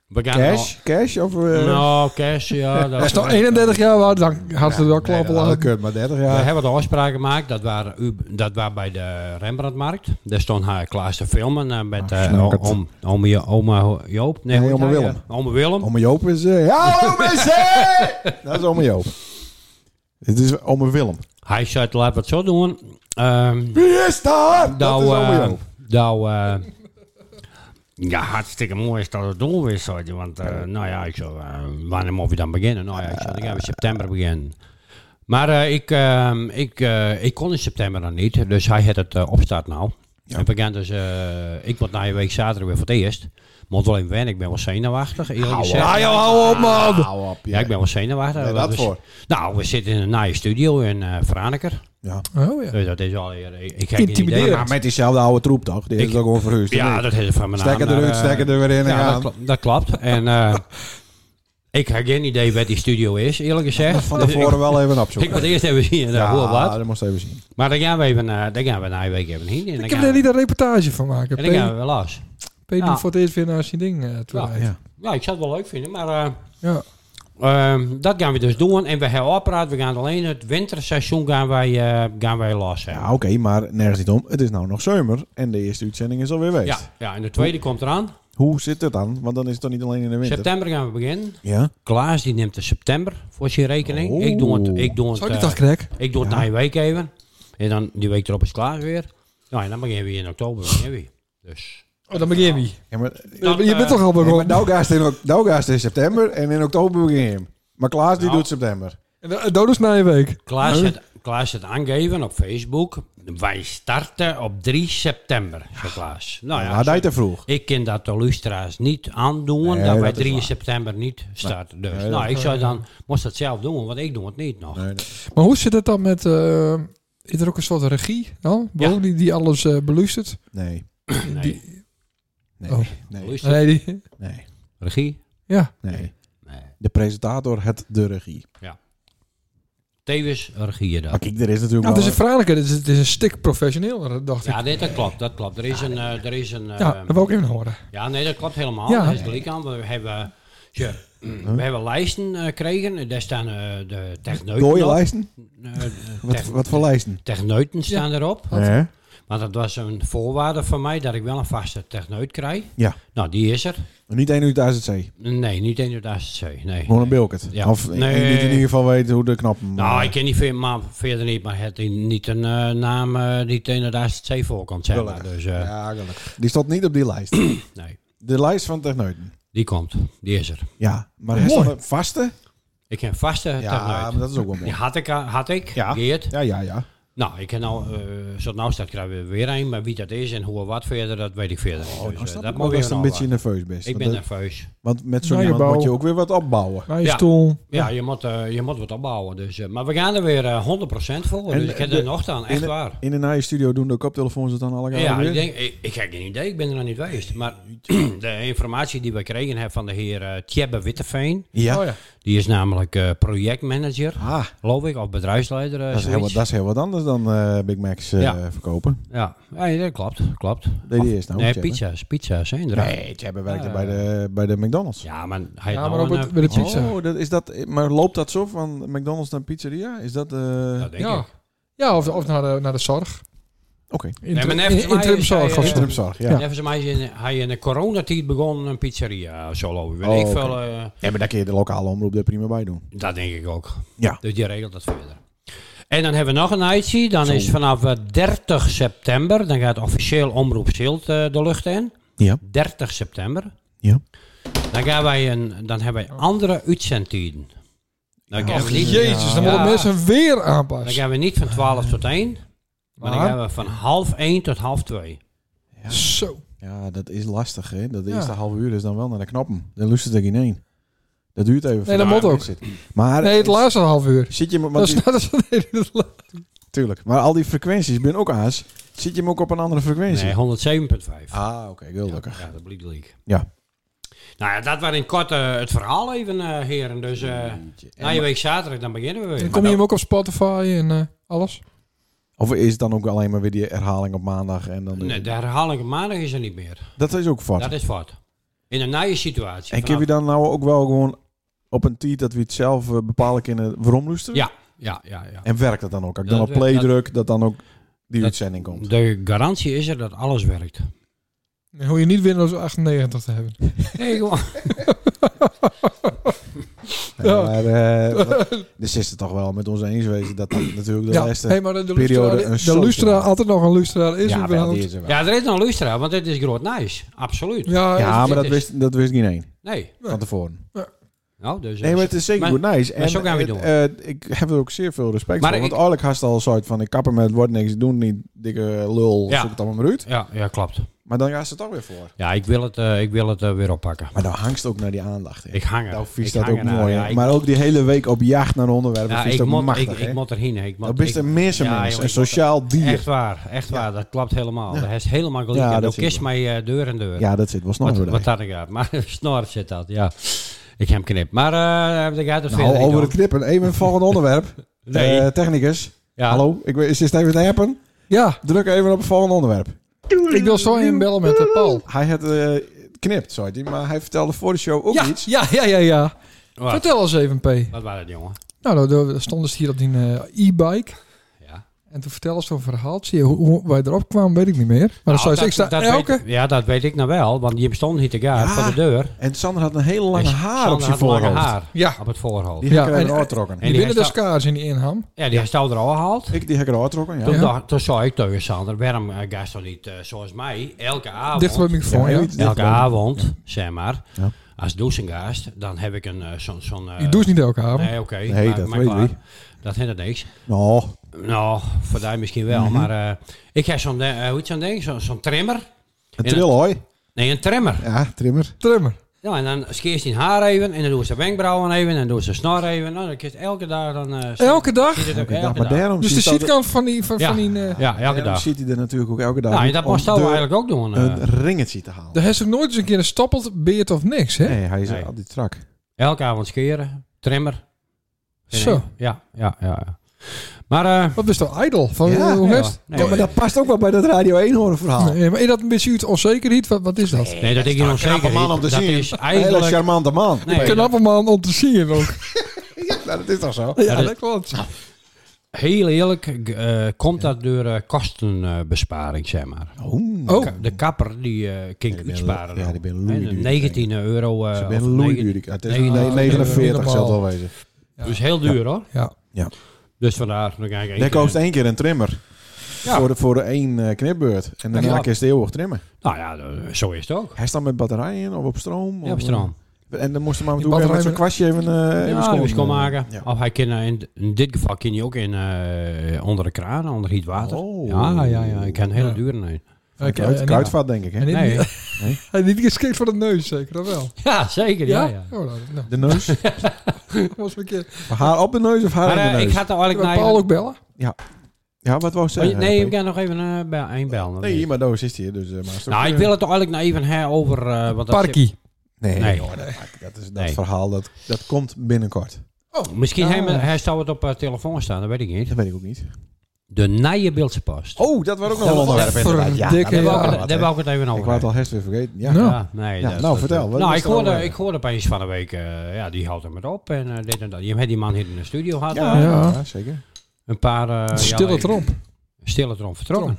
S7: We gaan
S2: Cash? Cash? Of... eh,
S7: Al, nou, cash, ja.
S1: Als het
S7: Dat,
S1: al 31 jaar was, dan had het wel
S2: nee,
S1: klappen
S2: dat
S1: laten.
S2: kut, maar 30
S7: we
S2: jaar.
S7: hebben de afspraken gemaakt, dat waren, u- dat waren bij de Rembrandtmarkt. Daar stond haar Klaas te filmen eh, met
S2: Ah,
S7: eh,
S2: snap het.
S7: oom, oom, Jo- oma Joop. Nee,
S2: Nee,
S7: hoe heet
S2: oma
S7: hij,
S2: Willem.
S7: eh? Oma Willem.
S2: Ome Joop is... eh, Hallo mensen! dat is ome Joop. Dit is ome Willem.
S7: Hij zei, laten we het zo doen. Ehm
S2: Wie is daar? dat is
S7: nou, eh,
S2: allemaal jou.
S7: nou eh, ja, hartstikke mooi is dat het doel is. hoor. Want eh, nou ja, ik zou, eh, wanneer moet je dan beginnen? Nou ja, ik zou, dan gaan we september beginnen. Maar eh, ik, ehm, ik, eh, ik kon in september dan niet, dus hij had het eh, opstart nou.
S2: Ja.
S7: En we gaan dus, eh, ik moet na je week zaterdag weer voor het eerst. Moet wel even wennen, ik ben wel zenuwachtig. Eerlijk gezegd.
S1: Nou, joh, hou op, man.
S2: Hou op,
S7: Ja, ik ben wel zenuwachtig.
S2: Ben je dat
S7: Dus-
S2: voor?
S7: Nou, we zitten in een naaie studio in eh Franeker.
S2: Ja.
S1: Oh ja.
S7: Dus dat is al eer. Ik, ik heb geen idee.
S1: Intimiderend.
S2: Maar met diezelfde oude troep toch? Die
S7: Ik-
S2: is het ook gewoon verhuisd. of
S7: Ja,
S2: niet?
S7: dat is van mijn naam.
S2: Stekker eruit,
S7: eh,
S2: stekker er weer in en
S7: Ja,
S2: gaan.
S7: dat, klopt- dat klopt. En eh, ik heb geen idee waar die studio is, eerlijk gezegd.
S2: Van
S7: Dus ik-
S2: tevoren wel even
S7: Ik
S2: opzoeken.
S7: moet eerst even zien eh, hoe of wat.
S2: dat moest even zien.
S7: Maar dan gaan we even, eh dan gaan we na een week even heen. En dan
S1: Ik
S7: gaan
S1: heb
S7: we-
S1: er niet een reportage van maken.
S7: en dan gaan
S1: Peter
S7: we wel los.
S1: Peter
S7: Ja.
S1: moet voor het eerst weer naar zijn ding eh, toe
S7: Ja.
S1: rijden.
S7: Ja, ik zou het wel leuk vinden, maar eh,
S1: Ja.
S7: ehm, dat gaan we dus doen. En we hebben operaat, we gaan alleen het winterseizoen gaan wij, eh, gaan wij los. hè.
S2: Ja, oké, maar nergens niet om. Het is nou nog zomer en de eerste uitzending is alweer geweest.
S7: ja, ja, en de tweede komt eraan.
S2: Hoe zit het dan? Want dan is het toch niet alleen in de winter?
S7: September gaan we beginnen.
S2: Ja?
S7: Klaas die neemt de september voor zijn rekening.
S2: Oh.
S7: Ik doe het, ik doe het,
S1: Zou ik
S7: eh,
S1: dat krek?
S7: Ik doe het
S2: Ja.
S7: na een week even. En dan die week erop is klaar weer. Nou, en dan beginnen we in oktober beginnen we. Dus.
S1: Oh, dan begin je.
S2: ja maar,
S7: Dan,
S1: Je bent
S7: eh,
S1: toch al
S2: nee, maar
S1: begonnen?
S2: nou gaat het in, nou gaat het in september en in oktober begin je hem. Maar Klaas die
S7: Nou.
S2: doet september.
S1: En dan- Dat is na je week. Nou,
S7: Klaas
S2: Nou,
S7: het, Klaas het aangeven op Facebook. Wij starten op 3 september, zei Klaas. Nou
S2: Ja,
S7: ja,
S2: hij deed te vroeg.
S7: ik kan dat de lustra's niet aandoen,
S2: Nee,
S7: dat wij
S2: dat is
S7: 3
S2: waar.
S7: september niet starten. Dus,
S2: Nee,
S7: nou,
S2: dat-
S7: ik zou dan, moest dat zelf doen, want ik doe het niet nog.
S2: Nee, nee.
S1: Maar hoe zit het dan met... eh, is er ook een soort regie dan? Bo, die, die alles eh, beluistert?
S2: Nee.
S7: Nee.
S1: Die-
S2: Nee.
S1: Oh.
S2: Nee.
S7: Luister,
S1: Nee, die...
S2: Nee.
S7: regie?
S1: Ja.
S2: Nee.
S7: Nee.
S2: De presentator het de regie.
S7: Tevens regie dat.
S2: Maar kijk, er is natuurlijk
S1: Nou, het is
S2: wel
S1: een vrijelijke. Het is, het is een stuk professioneel, dacht ik.
S7: Ja, dit, dat klopt, dat klopt. Er is een... eh, er is een
S1: Ja,
S7: eh,
S1: dat wil ik even horen.
S7: Ja, nee, dat klopt helemaal.
S1: Ja.
S7: Dat is gelijk aan. We hebben, tja, we hebben lijsten eh, gekregen. En daar staan eh, de
S2: een
S7: techneuten
S2: dode
S7: op.
S2: lijsten.
S7: Eh, de
S2: Wat,
S7: tech-
S2: wat voor lijsten?
S7: Techneuten staan erop.
S2: Hè?
S7: Want dat was een voorwaarde van mij dat ik wel een vaste techneut krijg.
S2: Ja.
S7: Nou, die is er.
S2: Niet één uur thuis het zee.
S7: Nee, niet in de ACC. Nee.
S2: Gewoon een bilket.
S7: Ja.
S2: Of
S7: Nee.
S2: niet in ieder geval weet hoe de eh, knap...
S7: Nou, ik ken die veel, maar verder niet. Maar het is niet een eh, naam eh, die tegen de ACC voorkomt, zeg maar. Dus, eh,
S2: Ja, gelukkig. Die stond niet op die lijst.
S7: nee.
S2: De lijst van techneuten.
S7: Die komt. Die is er.
S2: Ja, maar hij
S1: Mooi.
S2: staat een vaste.
S7: Ik heb een vaste
S2: Ja, maar
S7: techneut.
S2: dat is ook wel
S7: Die
S2: mooi.
S7: had ik, eh, had ik
S2: Ja.
S7: Geert.
S2: Ja, ja, ja.
S7: Nou, ik ken nou, eh zo nou staat krijgen we weer een, maar wie dat is en hoe en wat verder, dat weet ik verder niet.
S2: Oh,
S7: Dus,
S2: nou
S7: eh,
S2: snap
S7: dat
S2: ik
S7: moet
S2: wel dat
S7: weer
S2: je een
S7: een
S2: beetje
S7: ander.
S2: nerveus
S7: Ik
S2: bent. want
S7: ben
S2: dat-
S7: nerveus.
S2: Want met zo'n
S1: Nou, je
S2: iemand moet je
S1: bouw.
S2: ook weer wat opbouwen.
S1: Naar je
S7: Ja.
S1: stoel.
S7: Ja, je, moet, eh, je moet wat opbouwen. Dus, eh, maar we gaan er weer eh, 100% voor.
S2: En
S7: dus ik heb
S2: de-
S7: er nog aan, echt
S2: in,
S7: waar.
S2: In de naaie studio doen de koptelefoons het dan alle
S7: Ja,
S2: keer weer?
S7: ik, denk, ik, ik heb geen idee, ik ben er nog niet geweest. Maar de informatie die we kregen hebben van de heer eh Tjebbe Witteveen,
S2: Ja.
S1: Oh ja.
S7: die is namelijk eh, projectmanager,
S2: Ah,
S7: geloof ik, of bedrijfsleider. eh,
S2: dat is, heel, wat-
S7: zoiets.
S2: dat is heel wat anders dan eh, Big Macs eh,
S7: Ja.
S2: verkopen.
S7: Ja. ja, dat klopt, klopt.
S2: Deed hij eerst nou?
S7: nee,
S2: Tjebbe?
S7: pizza's, pizza's, hè, inderdaad.
S2: Nee, Tjebbe werkte
S7: Ja.
S2: bij, de, bij de McDonald's.
S7: Ja, maar hij
S1: Ja,
S7: had
S1: maar
S7: nou
S1: ook
S7: een,
S1: met-
S7: eh,
S1: met de pizza.
S2: Oh, dat is dat, maar loopt dat zo van McDonald's naar pizzeria? Is dat... eh,
S7: Dat denk
S1: Ja.
S7: ik.
S1: Ja, of, of naar, de, naar de zorg.
S2: Oké.
S1: Inter,
S7: maar net
S1: in-
S7: voor mij
S1: interimzorg
S7: is hij,
S1: of
S7: eh,
S1: zo.
S2: Interimzorg, ja.
S7: En even mij is in, hij in de coronatijd begon een pizzeria zo lopen. Weet
S2: Oh,
S7: ik
S2: oké.
S7: veel, eh,
S2: Ja, maar daar kun je de lokale omroep er prima bij doen.
S7: dat denk ik ook.
S2: Ja.
S7: Dus die regelt dat verder. En dan hebben we nog een item. Dan is vanaf eh, 30 september, dan gaat officieel Omroep Zilt eh, de lucht in.
S2: Ja.
S7: 30 september.
S2: Ja.
S7: Dan, gaan wij een, dan hebben wij andere uitzendtijden. Dan, gaan we niet,
S1: Jezus, dan
S7: Ja.
S1: moeten mensen weer
S7: dan
S1: aanpassen.
S7: gaan we niet van 12 tot 1, maar dan
S1: Maar?
S7: gaan we van half 1 tot half 2.
S1: Zo.
S2: Ja, dat is lastig, hè. Dat
S1: Ja.
S2: eerste half uur is dan wel naar de knoppen. Dan lust het er geen één. Dat duurt even.
S1: Nee, dat
S2: voordat
S1: moet
S2: je
S1: ook.
S2: zit. Maar
S1: Nee, het laatste half uur.
S2: zit je... met-
S1: Dat
S2: Want
S1: is, dat is, nee, dat is-
S2: die- tuurlijk. Maar al die frequenties ben ook aas. Zit je hem ook op een andere frequentie?
S7: Nee, 107.5.
S2: Ah, oké. gelukkig.
S7: Ja, dat blijkt leuk.
S2: Ja.
S7: Nou ja, dat was in kort eh, het verhaal even, eh, heren. Dus eh na je week zaterdag, dan beginnen we weer.
S1: Dan kom je hem ook op Spotify en eh, alles.
S2: Of is het dan ook alleen maar weer die herhaling op maandag en dan...
S7: Nee, de herhaling op maandag is er niet meer.
S2: Dat is ook vast.
S7: Dat is fout. In een nieuwe situatie.
S2: En kun je
S7: Vanaf-
S2: dan nou ook wel gewoon op een tiet dat we het zelf eh, bepalen kunnen waarom luisteren?
S7: Ja, ja, ja. ja.
S2: En werkt dat dan ook? Als ik dan
S7: Dat-
S2: op play
S7: dat-
S2: druk, dat dan ook die
S7: dat-
S2: uitzending komt.
S7: De garantie is er dat alles werkt.
S1: Dan hoef je niet Windows 98 te hebben.
S7: Nee, gewoon.
S1: Ja.
S2: Maar eh, wat- dus is het toch wel met ons eens wezen dat dat natuurlijk de
S1: Ja,
S2: laatste
S1: hey, maar de, de
S2: periode
S1: lustraar-
S2: een
S1: de
S2: soort-
S1: lustraar, altijd nog een lustraar is
S2: ja, wel,
S1: überhaupt.
S2: die is er wel. Ja,
S7: Ja, er is nog luisteraar, want dit is groot nice. Absoluut.
S1: Ja,
S2: maar dat
S7: is-
S2: wist, dat wist geen één
S7: Nee.
S2: van tevoren.
S7: Nou, dus,
S2: Nee, maar het is zeker
S7: Maar-
S2: goed nice.
S7: maar zo gaan we
S2: eh,
S7: door.
S2: eh, ik heb er ook zeer veel respect
S7: Maar
S2: voor.
S7: ik-
S2: Want eigenlijk had al een soort van... ik kapper met wordt niks, doen niet, dikke lul,
S7: Ja.
S2: zoek het allemaal maar uit.
S7: Ja, ja, klopt.
S2: Maar dan gaan ze het toch weer voor.
S7: Ja, ik wil het, eh, ik wil het eh, weer oppakken.
S2: Maar dan hangst ook naar die aandacht.
S7: Ik hang er.
S2: Nou,
S7: Ik
S2: vies dat
S7: hang
S2: ook
S7: er nou,
S2: mooi.
S7: ja,
S2: hè.
S7: ik-
S2: maar ook die hele week op jacht naar onderwerpen.
S7: Ja,
S2: Ja, is
S7: ik
S2: dat
S7: moet,
S2: machtig,
S7: ik,
S2: hè?
S7: ik moet erheen. Ik moet,
S2: Dat is
S7: ik-
S2: een mensen
S7: Ja,
S2: mens.
S7: jongen,
S2: Een
S7: ik moet-
S2: sociaal dier.
S7: Echt waar, echt waar. Dat klopt helemaal. Dat is helemaal gelijk.
S2: Ja,
S7: Ja,
S2: dat
S7: dat
S2: zit
S7: kist
S2: wel.
S7: mij eh, deur en deur.
S2: Ja, dat zit wel snel
S7: wat,
S2: weer
S7: wat
S2: daar.
S7: had ik uit? Maar snor zit dat, ja. Ik heb hem knip. Maar eh ik had het
S2: Nou,
S7: verder niet
S2: over het
S7: door.
S2: knippen. Even een volgend onderwerp.
S7: Nee.
S2: Eh, technicus.
S7: Ja.
S2: Hallo, ik, weet- is dit even te happen?
S1: ja,
S2: Druk even op het volgende onderwerp.
S1: ik wil zo inbellen met eh, Paul.
S2: Hij had eh knipt, zei hij. Maar hij vertelde voor de show ook
S1: Ja,
S2: iets.
S1: ja, ja, ja, ja.
S7: Wat,
S1: Vertel eens even, P.
S7: wat was dat, jongen?
S1: Nou, dan- dan dan stonden ze hier op die eh, e-bike.
S7: Ja.
S1: En toen vertelde ze zo'n verhaaltje. Hoe, hoe wij erop kwamen, weet ik niet meer. Maar dan
S7: Nou,
S1: zei ze, ik sta
S7: dat
S1: elke...
S7: Weet, ja, dat weet ik nou wel, want je stond hier te gaan
S2: eh, Ja.
S7: voor de deur.
S2: En Sander had een hele lange
S7: En
S2: haar
S7: Sander
S2: op zijn
S7: had lange
S2: voorhoofd.
S7: haar
S1: Ja.
S7: op het voorhoofd.
S2: Die
S1: Ja,
S2: heb ik
S1: en-
S2: eruit getrokken.
S7: en-
S1: die winnen de
S7: hij sta-
S1: skaars in die inham.
S7: ja, die heeft al er al gehaald.
S2: Ik die heb ik eruit getrokken, ja.
S7: Toen,
S1: Ja.
S7: dacht, toen zei ik tegen Sander, waarom eh, ga je toch niet eh, zoals mij elke avond...
S1: Dicht bij de microfoon, ja.
S2: heel iets
S7: elke
S2: dichtbij.
S7: avond, zeg maar,
S2: Ja.
S7: als douchengast, dan heb ik een eh, zo'n... zo'n eh,
S1: Ik doe het niet elke avond.
S7: Nee, oké.
S2: Nee,
S7: maar-
S2: dat
S7: maar
S2: weet
S7: klaar.
S2: wie.
S7: Dat hindert niks.
S2: Nou,
S7: Nou, voor die misschien
S2: Mhm.
S7: wel. Maar eh, ik heb zo'n, eh, hoe heet zo'n ding? Zo'n, zo'n trimmer.
S2: een trill, hoor.
S7: Nee, een trimmer.
S2: Ja, trimmer.
S1: Trummer.
S7: Ja, en dan scheert hij haar even. En dan doet ze wenkbrauwen even. En dan doet ze snor even. Nou, dan krijgt elke dag dan... eh, zie-
S1: Elke dag?
S7: zie je het ook
S2: Elke dag, maar daarom
S1: Dus de
S2: ziet dat-
S1: sheetkant van die... Van,
S7: Ja,
S1: van die eh,
S7: ja, elke
S2: daarom
S7: dag.
S2: ziet hij er natuurlijk ook elke dag.
S7: Nou, en
S2: om-
S7: dat
S2: om
S7: moest we
S2: de-
S7: eigenlijk ook doen. eh.
S2: Een ringetje te halen.
S1: Daar heeft ze ook nooit eens een keer een stoppeld beert of niks, hè?
S2: Nee, hij is
S7: Nee.
S2: altijd strak.
S7: elke avond scheren. Trimmer.
S1: Zo.
S7: Ja, ja, ja. ja. Maar... eh,
S1: Wat is toch ijdel? Van,
S2: Ja,
S1: eh, hoe
S7: ja,
S1: heeft...
S7: nee,
S2: Ja, maar dat past ook wel bij dat Radio 1 horen verhaal.
S1: Nee, maar is dat een beetje uit onzekerheid? Wat, wat is dat?
S7: Nee, dat ik je nog zeker
S2: man om
S7: niet.
S2: te
S7: Dat
S2: zien.
S7: is
S2: Een hele
S7: eigenlijk...
S2: charmante man.
S7: Nee,
S1: Een knappe man om te zien ook.
S2: Nou, dat is toch zo?
S1: Ja,
S7: dat- Ah,
S1: dat klopt.
S7: Heel eerlijk eh, komt dat door eh, kostenbesparing, zeg maar.
S2: Oeh.
S1: Oh,
S7: De kapper die eh
S2: Ja,
S7: ging
S2: die ben-
S7: iets sparen.
S2: ja, die ben loeiduur,
S7: En, eh, 19 euro. eh,
S2: Ik
S7: of
S2: ben loei
S7: 19
S2: duur. Ik- Het is
S7: Nee,
S2: nee,
S7: ah,
S2: 49
S1: normaal.
S2: zal het wel wezen.
S7: Dus heel duur hoor.
S1: ja.
S7: Dus vandaar nog eigenlijk
S2: Dat
S7: één
S2: kost
S7: keer-
S2: één keer een trimmer.
S7: Ja.
S2: Voor, de, voor de één eh, knipbeurt. En daarna
S7: Ja.
S2: kun je het eeuwig trimmen.
S7: Nou ja, eh, zo is het ook.
S2: Hij staat met batterijen in of op stroom.
S7: Ja,
S2: of-
S7: op stroom.
S2: En dan moest hij maar
S1: Die
S2: doen met zo'n
S1: batterijen-
S2: kwastje even, eh even
S7: Ja,
S2: schoon-
S7: even schoonmaken.
S2: Ja.
S7: Of hij kan, eh, in, in dit geval kan je ook in, eh, onder de kraan, onder heet water.
S2: Oh.
S7: Ja, ja, ja. Ik ken hele
S1: Ja.
S7: dure nee.
S1: Kijk,
S2: Kruid-
S1: en-
S2: Kruidvat, denk ik. Hè?
S1: en niet-
S7: Nee.
S1: Hij niet geschikt voor de neus, zeker dat wel.
S7: Ja, zeker. Ja, ja.
S1: Oh, nou, nou,
S2: De neus.
S1: was een keer.
S2: haar op de neus of haar
S7: Maar
S2: Oh, in
S7: eh,
S2: de
S7: ik
S2: neus?
S7: had er eigenlijk
S1: Kunnen we
S7: naar.
S1: Paul ook bellen?
S2: Ja, wat wou ze
S7: Oh,
S2: zeggen?
S7: nee,
S2: Peter?
S7: ik heb nog even eh, bel- één bel.
S2: Nee, hier, maar Doos is hier. Dus, eh, maar is het ook,
S7: Nou, ik
S2: eh,
S7: wil het toch eigenlijk nou even hè, over... eh want dat
S1: Parkie.
S2: Nee,
S7: Nee.
S2: joh, dat, maakt- dat, is, dat
S7: Nee.
S2: verhaal dat, dat komt binnenkort.
S1: Oh,
S7: zit- misschien
S1: Ja.
S7: hij,
S2: Ah.
S7: met- hij zou het op eh, telefoon staan, dat weet ik niet.
S2: Dat weet ik ook niet.
S7: De Nije Beeldse Post.
S2: Oh, dat was ook nog
S1: Dat
S2: een
S1: was
S2: onderwerp inderdaad. Ja,
S1: verdikke,
S2: dat
S7: daar
S2: wou
S7: wou
S1: ja.
S2: ik al
S7: ik
S2: wat,
S7: het- daar
S2: hè.
S7: wou ik het even
S2: Ik
S7: over
S2: wou het
S7: hebben.
S2: al herst weer vergeten. Ja.
S1: Ja.
S7: Ja, nee,
S2: Ja,
S7: dat-
S2: nou,
S7: dat-
S2: vertel, wat
S7: nou,
S2: was
S7: ik
S2: er over?
S7: hoorde, ik hoorde opeens van de week, eh, ja, die houdt hem maar op. En eh, dit en dat. Je hebt die man hier in de studio gehad.
S2: Ja,
S7: eh,
S1: Ja.
S2: ja, zeker.
S7: Een paar... eh,
S1: Stille
S7: ja,
S1: tromp.
S7: Stille tromp vertrokken.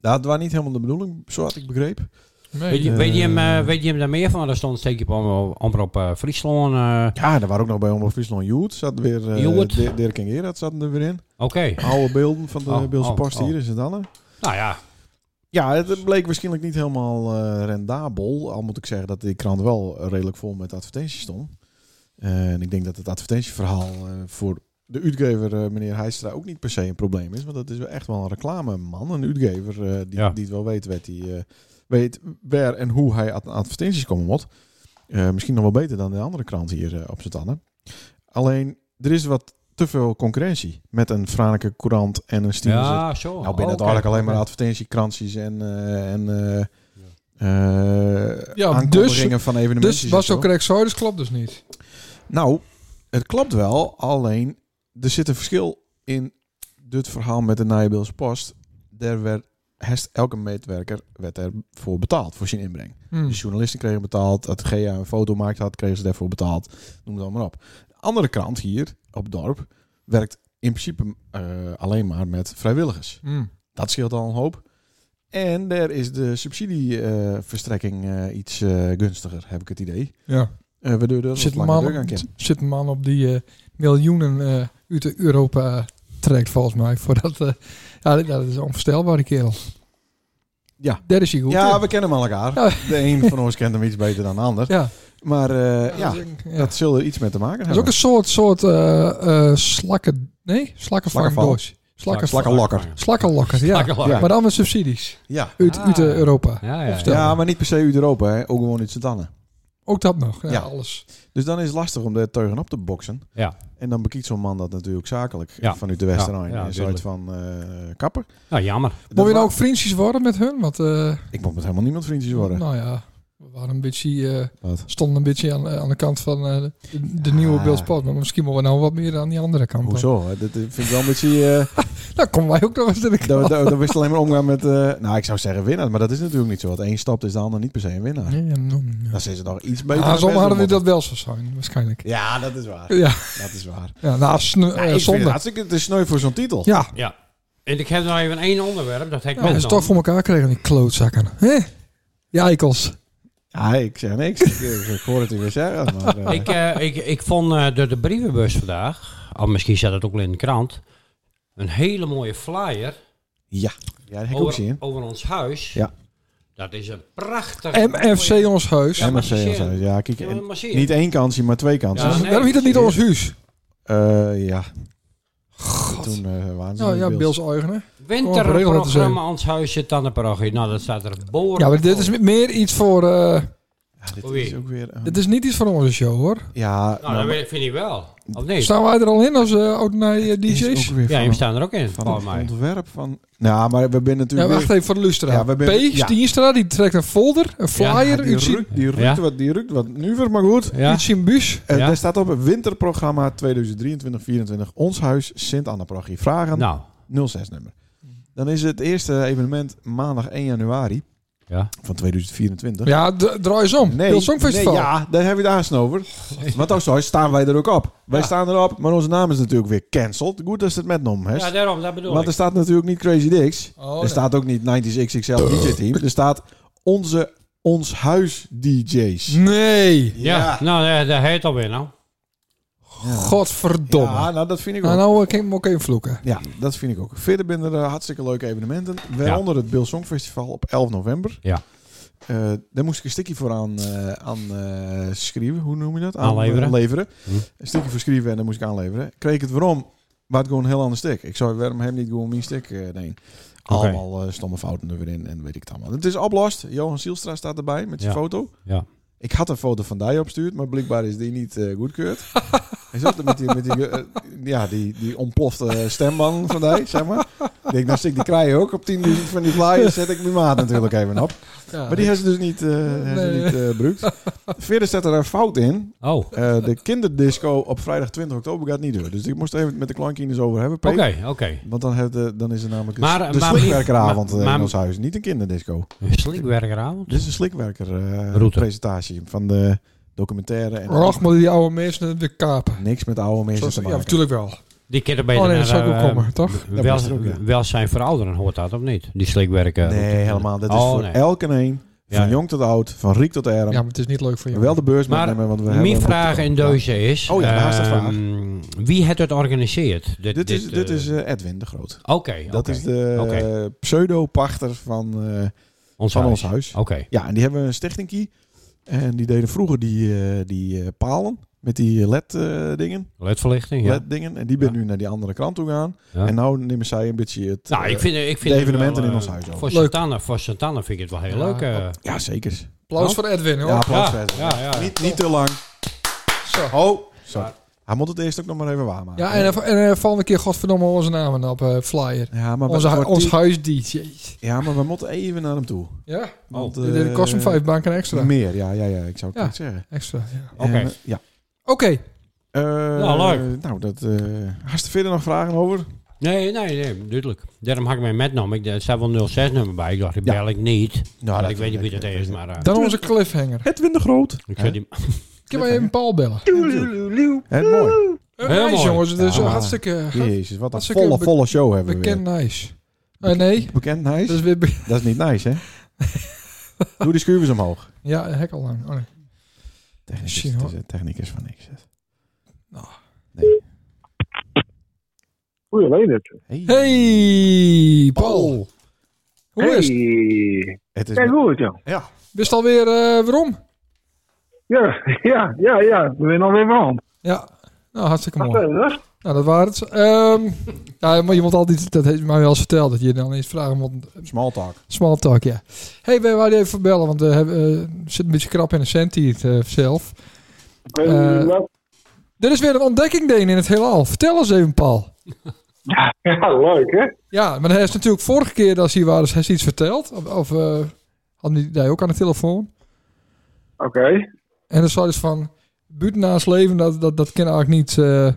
S2: Dat was niet helemaal de bedoeling, zo had ik begrepen.
S7: Weet, je,
S2: Eh.
S7: weet, je hem, eh, weet je hem daar meer van? Daar stond een steekje op, om- op eh, Friesland. eh,
S2: Ja, daar waren ook nog bij Omroep Friesland Joet. Zat weer eh,
S7: Joet.
S2: Dirk- Dirk en Gerard zaten er weer in.
S7: Oké.
S2: Oude beelden van de
S7: Oh,
S2: Beelse
S7: oh,
S2: Post
S7: oh.
S2: hier is het dan. hè?
S7: Nou ja,
S2: Ja, het bleek waarschijnlijk niet helemaal eh, rendabel. Al moet ik zeggen dat die krant wel redelijk vol met advertenties stond. Eh, en ik denk dat het advertentieverhaal eh, voor de uitgever, eh, meneer Heijstra, ook niet per se een probleem is. Want dat is wel echt wel een reclameman, een uitgever eh, die,
S7: Ja.
S2: die het wel weet, weet, die, eh, weet waar en hoe hij ad- advertenties komen moet. Eh, misschien nog wel beter dan de andere krant hier eh, op z'n tannen. Alleen, er is wat te veel concurrentie met een Franeker Courant en een Stimus
S7: ja, zo.
S1: Oh,
S2: nou, binnen
S7: Oké.
S2: het eigenlijk alleen maar advertentiekrantjes en, eh en eh eh,
S1: Ja,
S2: aankondigingen van evenementen.
S1: Dus was zo correct zo, dus klopt dus niet.
S2: Nou, het klopt wel, alleen er zit een verschil in dit verhaal met de Nijbeelse Post. Daar werd hest elke medewerker werd ervoor betaald voor zijn inbreng.
S1: Hm.
S7: Dus-
S2: De journalisten kregen betaald. Dat GA een foto maakt had, kregen ze daarvoor betaald. Noem het allemaal op. De andere krant hier op het dorp werkt in principe eh, alleen maar met vrijwilligers.
S1: Hm.
S2: Dat scheelt al een hoop. En daar is de subsidieverstrekking iets eh, gunstiger, eh, heb ik het idee.
S1: Ja.
S2: Eh, waardoor dat
S1: Zit
S2: zit
S1: een,
S2: langer
S1: man
S2: deur aan
S1: op,
S2: kan.
S1: zit een man op die eh, miljoenen eh, uit de Europa eh, trekt, volgens mij. Voor dat, eh, ja, dit- dat is onvoorstelbaar, die kerel.
S2: Ja.
S1: Daar is hij goed.
S2: Ja,
S1: in.
S2: we kennen hem al elkaar.
S1: Ja.
S2: De een van ons kent hem iets beter dan de ander.
S1: ja.
S2: Maar eh, ja,
S1: dat is een- ja.
S2: dat zul er iets mee te maken
S1: Dat is ook
S2: hebben.
S1: een soort, soort eh, eh, slakken... Nee? Slakkenvangdoos. Slakken,
S2: Slakkenlokker.
S1: slakkenlokker, ja.
S7: Slakkenlokker.
S1: Maar dan met subsidies.
S2: Ja.
S1: Uit,
S7: Ah.
S1: uit eh, Europa.
S7: Ja, ja.
S1: Stel.
S2: ja, maar niet per se uit Europa. Hè. Ook gewoon uit Zetannen.
S1: Ook dat nog. Ja,
S2: Ja.
S1: alles.
S2: Dus dan is het lastig om daar tegenop te boksen.
S7: Ja.
S2: En dan bekijkt zo'n man dat natuurlijk zakelijk
S7: Ja.
S2: vanuit de Westerijn.
S7: Ja, ja,
S2: en zoiets van eh, kapper.
S7: Nou, jammer.
S2: Dat
S1: Moet je
S2: wa-
S1: nou ook vriendjes worden met hun? Want, eh,
S2: Ik moet met helemaal niemand vriendjes worden.
S1: nou ja, we waren een beetje, eh,
S2: Wat?
S1: stonden een beetje aan, eh, aan de kant van eh, de, de nieuwe
S2: Ja.
S1: Beeldsport. Maar misschien moeten we nou wat meer aan die andere kant. dan.
S2: Hoezo? hè? Dat eh, vind ik wel een beetje... eh
S1: Nou, komen wij ook nog eens aan de
S2: dat,
S1: kant.
S2: dat, dat wist alleen maar omgaan met... eh, nou, ik zou zeggen winnaar. Maar dat is natuurlijk niet zo. Want één stapt is de ander niet per se een winnaar.
S1: Nee, ja, nou, ja.
S2: Dan zijn ze nog iets beter.
S1: Ah,
S2: dan
S1: Sommigen hadden we
S2: Westermond.
S1: dat wel zo zijn, waarschijnlijk.
S2: Ja, dat is waar.
S1: Ja,
S2: Dat is waar.
S1: ja nou, sne- eh,
S2: Ja, ik vind het
S1: zonde.
S2: hartstikke te sneu voor zo'n titel.
S1: Ja,
S7: Ja. En ik heb nog even één onderwerp. Dat heet
S1: Ja, dat is toch voor elkaar kregen die klootzakken. Hè? Ja, ikels.
S2: Ja, ik zeg niks. ik, eh, ik, ik hoor het u weer zeggen. Maar, eh,
S7: ik, eh, ik, ik vond eh, de, de brievenbus vandaag, of misschien zat het ook wel in de krant, een hele mooie flyer
S2: ja. ja, dat heb ik ook
S7: over,
S2: zien.
S7: over ons huis.
S2: Ja.
S7: Dat is een prachtig...
S1: MFC ons huis.
S7: Ja, maar
S2: MFC
S7: zie je.
S2: of zo. Ja, kijk.
S7: Ja,
S2: en
S7: maar zie je.
S2: niet één kansje, maar twee kansen.
S7: Ja.
S2: Ja.
S7: nee,
S1: Waarom heet dat niet
S7: zie je.
S1: ons huis?
S2: ja. Toen eh waren ze
S1: Nou
S2: niet
S1: ja,
S2: Bills.
S1: Bills eigenen. Oh, regel dat
S7: Winterprogramma Ons Huis zit aan de parochie. Nou, dat staat er boven.
S1: Ja, maar dit is meer iets voor... eh,
S2: Ja, dit
S7: Oei.
S2: is ook weer... een-
S1: dit is niet iets voor onze show, hoor.
S2: ja,
S7: Nou, dat weet- vind ik wel. Of nee?
S1: Staan wij er al in als eh oud eh
S2: is
S1: DJ's?
S2: ook weer
S7: Ja, Oh,
S2: van,
S7: we staan er ook in,
S2: van
S7: volgens
S2: het
S7: mij.
S2: ontwerp van... Nou, maar we zijn
S1: Ja,
S2: natuurlijk...
S1: wacht even voor de Lustra.
S2: Ja, we
S1: P.
S2: hebben- ja.
S1: Stienstra, die trekt een folder, een flyer,
S2: Ja, die
S1: uit, zijn,
S2: rukt, die rukt
S7: Ja.
S2: wat, die rukt wat nu weer, maar goed.
S7: Ja.
S1: uit zijn bus.
S2: Eh,
S7: Ja.
S2: Daar staat op winterprogramma 2023-2024. Ons huis sint anna Parochie. Vragen
S7: Nou,
S2: 06-nummer. Dan is het eerste evenement maandag 1 januari
S7: ja.
S2: van 2024.
S1: Ja, d- draai eens om. Beeld Songfestival.
S2: nee, ja, daar hebben we het aansnel over. Want ook zo staan wij er ook op. Wij
S7: Ja.
S2: staan erop, maar onze naam is natuurlijk weer cancelled. Goed dat ze het met nom
S7: Ja,
S2: hebt.
S7: daarom, dat bedoel
S2: Want
S7: ik.
S2: er staat natuurlijk niet Crazy Dicks.
S1: Oh,
S2: er
S1: nee.
S2: staat ook niet 90s XXL DJ Team. Er staat onze, ons huis DJ's.
S1: Nee.
S7: Ja, nou, eh, dat heet alweer nou.
S1: Godverdomme.
S2: Ja, nou dat vind ik
S1: nou,
S2: ook.
S1: nou eh, kan ik hem ook even vloeken.
S2: Ja, dat vind ik ook. Verder zijn er eh, hartstikke leuke evenementen. Waaronder het Bill Song Festival op 11 november.
S7: Ja.
S2: Eh, daar moest ik een stukje voor aan, eh, aan eh, schrijven. Hoe noem je dat?
S7: Aanleveren.
S2: eh, leveren.
S7: Hm.
S2: Een stukje voor schrijven en dan moest ik aanleveren. Kreeg ik het waarom? Maar het gewoon een heel ander stuk. Ik zou waarom hem niet gewoon mijn stuk eh nee. Allemaal eh, stomme fouten er weer in en weet ik het allemaal. Het is oplost. Johan Zielstra staat erbij met zijn
S7: Ja.
S2: foto.
S7: Ja.
S2: Ik had een foto van die opgestuurd, maar blijkbaar is die niet eh, goedkeurd. Hij zat er met die, met die, eh, ja, die, die ontplofte stemman van die, zeg maar. Ik denk, nou stik die kraai ook op 10.000 van die flyers. Zet ik mijn maat natuurlijk even op.
S1: Ja.
S2: Maar die hebben ze dus niet, eh hebben ze
S1: Nee.
S2: niet eh, gebruikt. Verder zet er een fout in.
S7: Oh, oké,
S2: Eh, de kinderdisco op vrijdag 20 oktober gaat niet door. Dus ik moest er even met de kleinkinders over hebben, Peet.
S7: oké.
S2: Want dan, heeft, eh, dan is er namelijk een
S7: Maar-
S2: s- de
S7: maar-
S2: slikwerkeravond eh,
S7: maar- maar-
S2: in ons huis. Niet een kinderdisco.
S7: Een slikwerkeravond.
S2: Dit is een slikwerker eh,
S7: Route.
S2: presentatie van de documentaire. En
S1: Rach maar die oude mensen weer kapen.
S2: Niks met oude mensen
S1: Zoals-
S2: te
S1: ja,
S2: maken.
S1: natuurlijk wel.
S7: Die kinderen beter
S1: Oh, nee,
S7: naar,
S1: dat zou ik ook
S7: eh,
S1: komen, toch?
S7: w-
S2: Dat
S7: wel-
S2: was er ook, ja.
S7: Welzijn voor ouderen hoort dat, of niet? Die slikwerken.
S2: Nee, helemaal. Dat is
S7: Oh,
S2: voor
S7: nee.
S2: elke een. Van
S7: Ja, ja.
S2: jong tot oud, van riek tot erm.
S1: Ja, maar het is niet leuk voor jou.
S2: Wel de beurs
S7: Maar
S2: meenemen, want we hebben...
S7: Mijn
S2: een
S7: vraag
S2: boek te
S7: in
S2: kopen.
S7: deze is...
S2: Oh ja, laatste vraag.
S7: ehm, Wie het het organiseert?
S2: Ja. Dit is, dit
S7: eh,
S2: is eh, Edwin de Groot.
S7: Oké,
S2: Dat
S7: oké.
S2: is de
S7: Oké.
S2: eh, pseudo-pachter van, eh,
S7: ons
S2: van
S7: huis.
S2: ons huis.
S7: Oké.
S2: Ja, en die hebben een stichtingkie. En die deden vroeger die, eh, die eh, palen met die eh, LED-dingen.
S7: Ledverlichting, ja.
S2: LED-dingen. En die ben
S7: Ja.
S2: nu naar die andere kant toe gaan.
S7: Ja.
S2: En nou nemen zij een beetje het...
S7: nou, ik
S2: eh,
S7: vind, ik vind
S2: de
S7: het
S2: evenementen
S7: wel,
S2: in
S7: eh,
S2: ons huis ook.
S7: Voor
S1: Leuk.
S7: Santana, voor Santana vind ik het wel heel
S1: Ja,
S7: leuk. eh.
S2: Ja, zeker.
S1: Applaus
S7: Ja.
S1: voor Edwin, hoor.
S2: Ja, applaus
S7: ja,
S2: verder.
S7: ja, ja.
S2: Niet, niet te lang.
S1: Zo.
S2: Oh, sorry. Hij moet het eerst ook nog maar even waarmaken.
S1: Ja, en, eh, en eh, volgende keer godverdomme onze namen op eh, flyer.
S2: Ja, maar we-
S1: Onze, hu-
S2: voor
S1: ons
S2: die-
S1: huis DJ.
S2: Ja, maar we moeten even naar hem
S7: Oh,
S2: toe.
S1: Ja,
S2: Want,
S1: dit dit
S2: eh,
S1: kost hem vijf banken extra.
S2: Meer, ja, ja, ja. Ik zou het
S1: Ja.
S2: niet zeggen.
S1: Extra, ja.
S7: Oké.
S2: En, eh, ja.
S1: Oké,
S2: Eh,
S7: Nou, leuk.
S2: Nou, dat... eh hast er verder nog vragen over?
S7: Nee, nee, nee, duidelijk. Daarom had ik mij metnam. Ik, er staat wel 06-nummer bij. Ik dacht, die
S2: Ja.
S7: bel ik niet.
S2: Nou,
S7: want ik weet niet wie dat is, maar... eh,
S1: dan onze cliffhanger.
S2: Het wint de groot.
S7: ik
S2: Hè?
S7: zet die...
S1: Ik maar even Paul bellen.
S2: En mooi.
S1: Eh,
S7: Heel
S1: nice,
S7: mooi.
S1: jongens. Het is
S2: Ja.
S1: een hartstikke
S2: Jezus, wat een
S1: Als ik een
S2: volle,
S1: be-
S2: volle show hebben we
S1: bekend nice. Eh, nee,
S2: weer. Bekend
S1: dat
S2: nice?
S1: is weer... be-
S2: Dat is niet nice, hè? Doe die schuivers omhoog.
S1: Ja, hek al lang. Oh, nee.
S2: Echt technisch,
S1: Shit, hoor.
S2: is, de techniek is van niks.
S1: Nou.
S2: Nee.
S6: Goeie leenertje.
S2: Hey.
S1: Hey,
S7: Oh.
S1: Paul. Hoe is het?
S6: Hey.
S2: Het is
S6: Ja, goed, ja.
S2: ja.
S1: Wist alweer eh, waarom?
S6: Ja, ja, ja, ja. We zijn alweer warm.
S1: Ja. Nou, hartstikke
S6: Wat
S1: mooi.
S6: is dat?
S1: Nou, dat waren het. Ehm, ja, maar je moet altijd, dat heeft mij wel eens verteld, dat je dan eens vragen moet.
S2: Small talk.
S1: Small talk, ja. hey, we waren even bellen, want eh, eh, er zit een beetje krap in de cent hier eh, zelf. Eh.
S6: Nou,
S1: Er is weer een ontdekking deen in het heelal. Vertel eens even, Paul.
S6: Ja, leuk, hè?
S1: Ja, maar hij is natuurlijk vorige keer dat ze hier waren, heeft hij iets verteld. Of, of eh, had hij die ook aan de telefoon?
S6: Oké.
S1: En dan zei dus van, buurt naast leven, dat, dat, dat kan eigenlijk niet eh,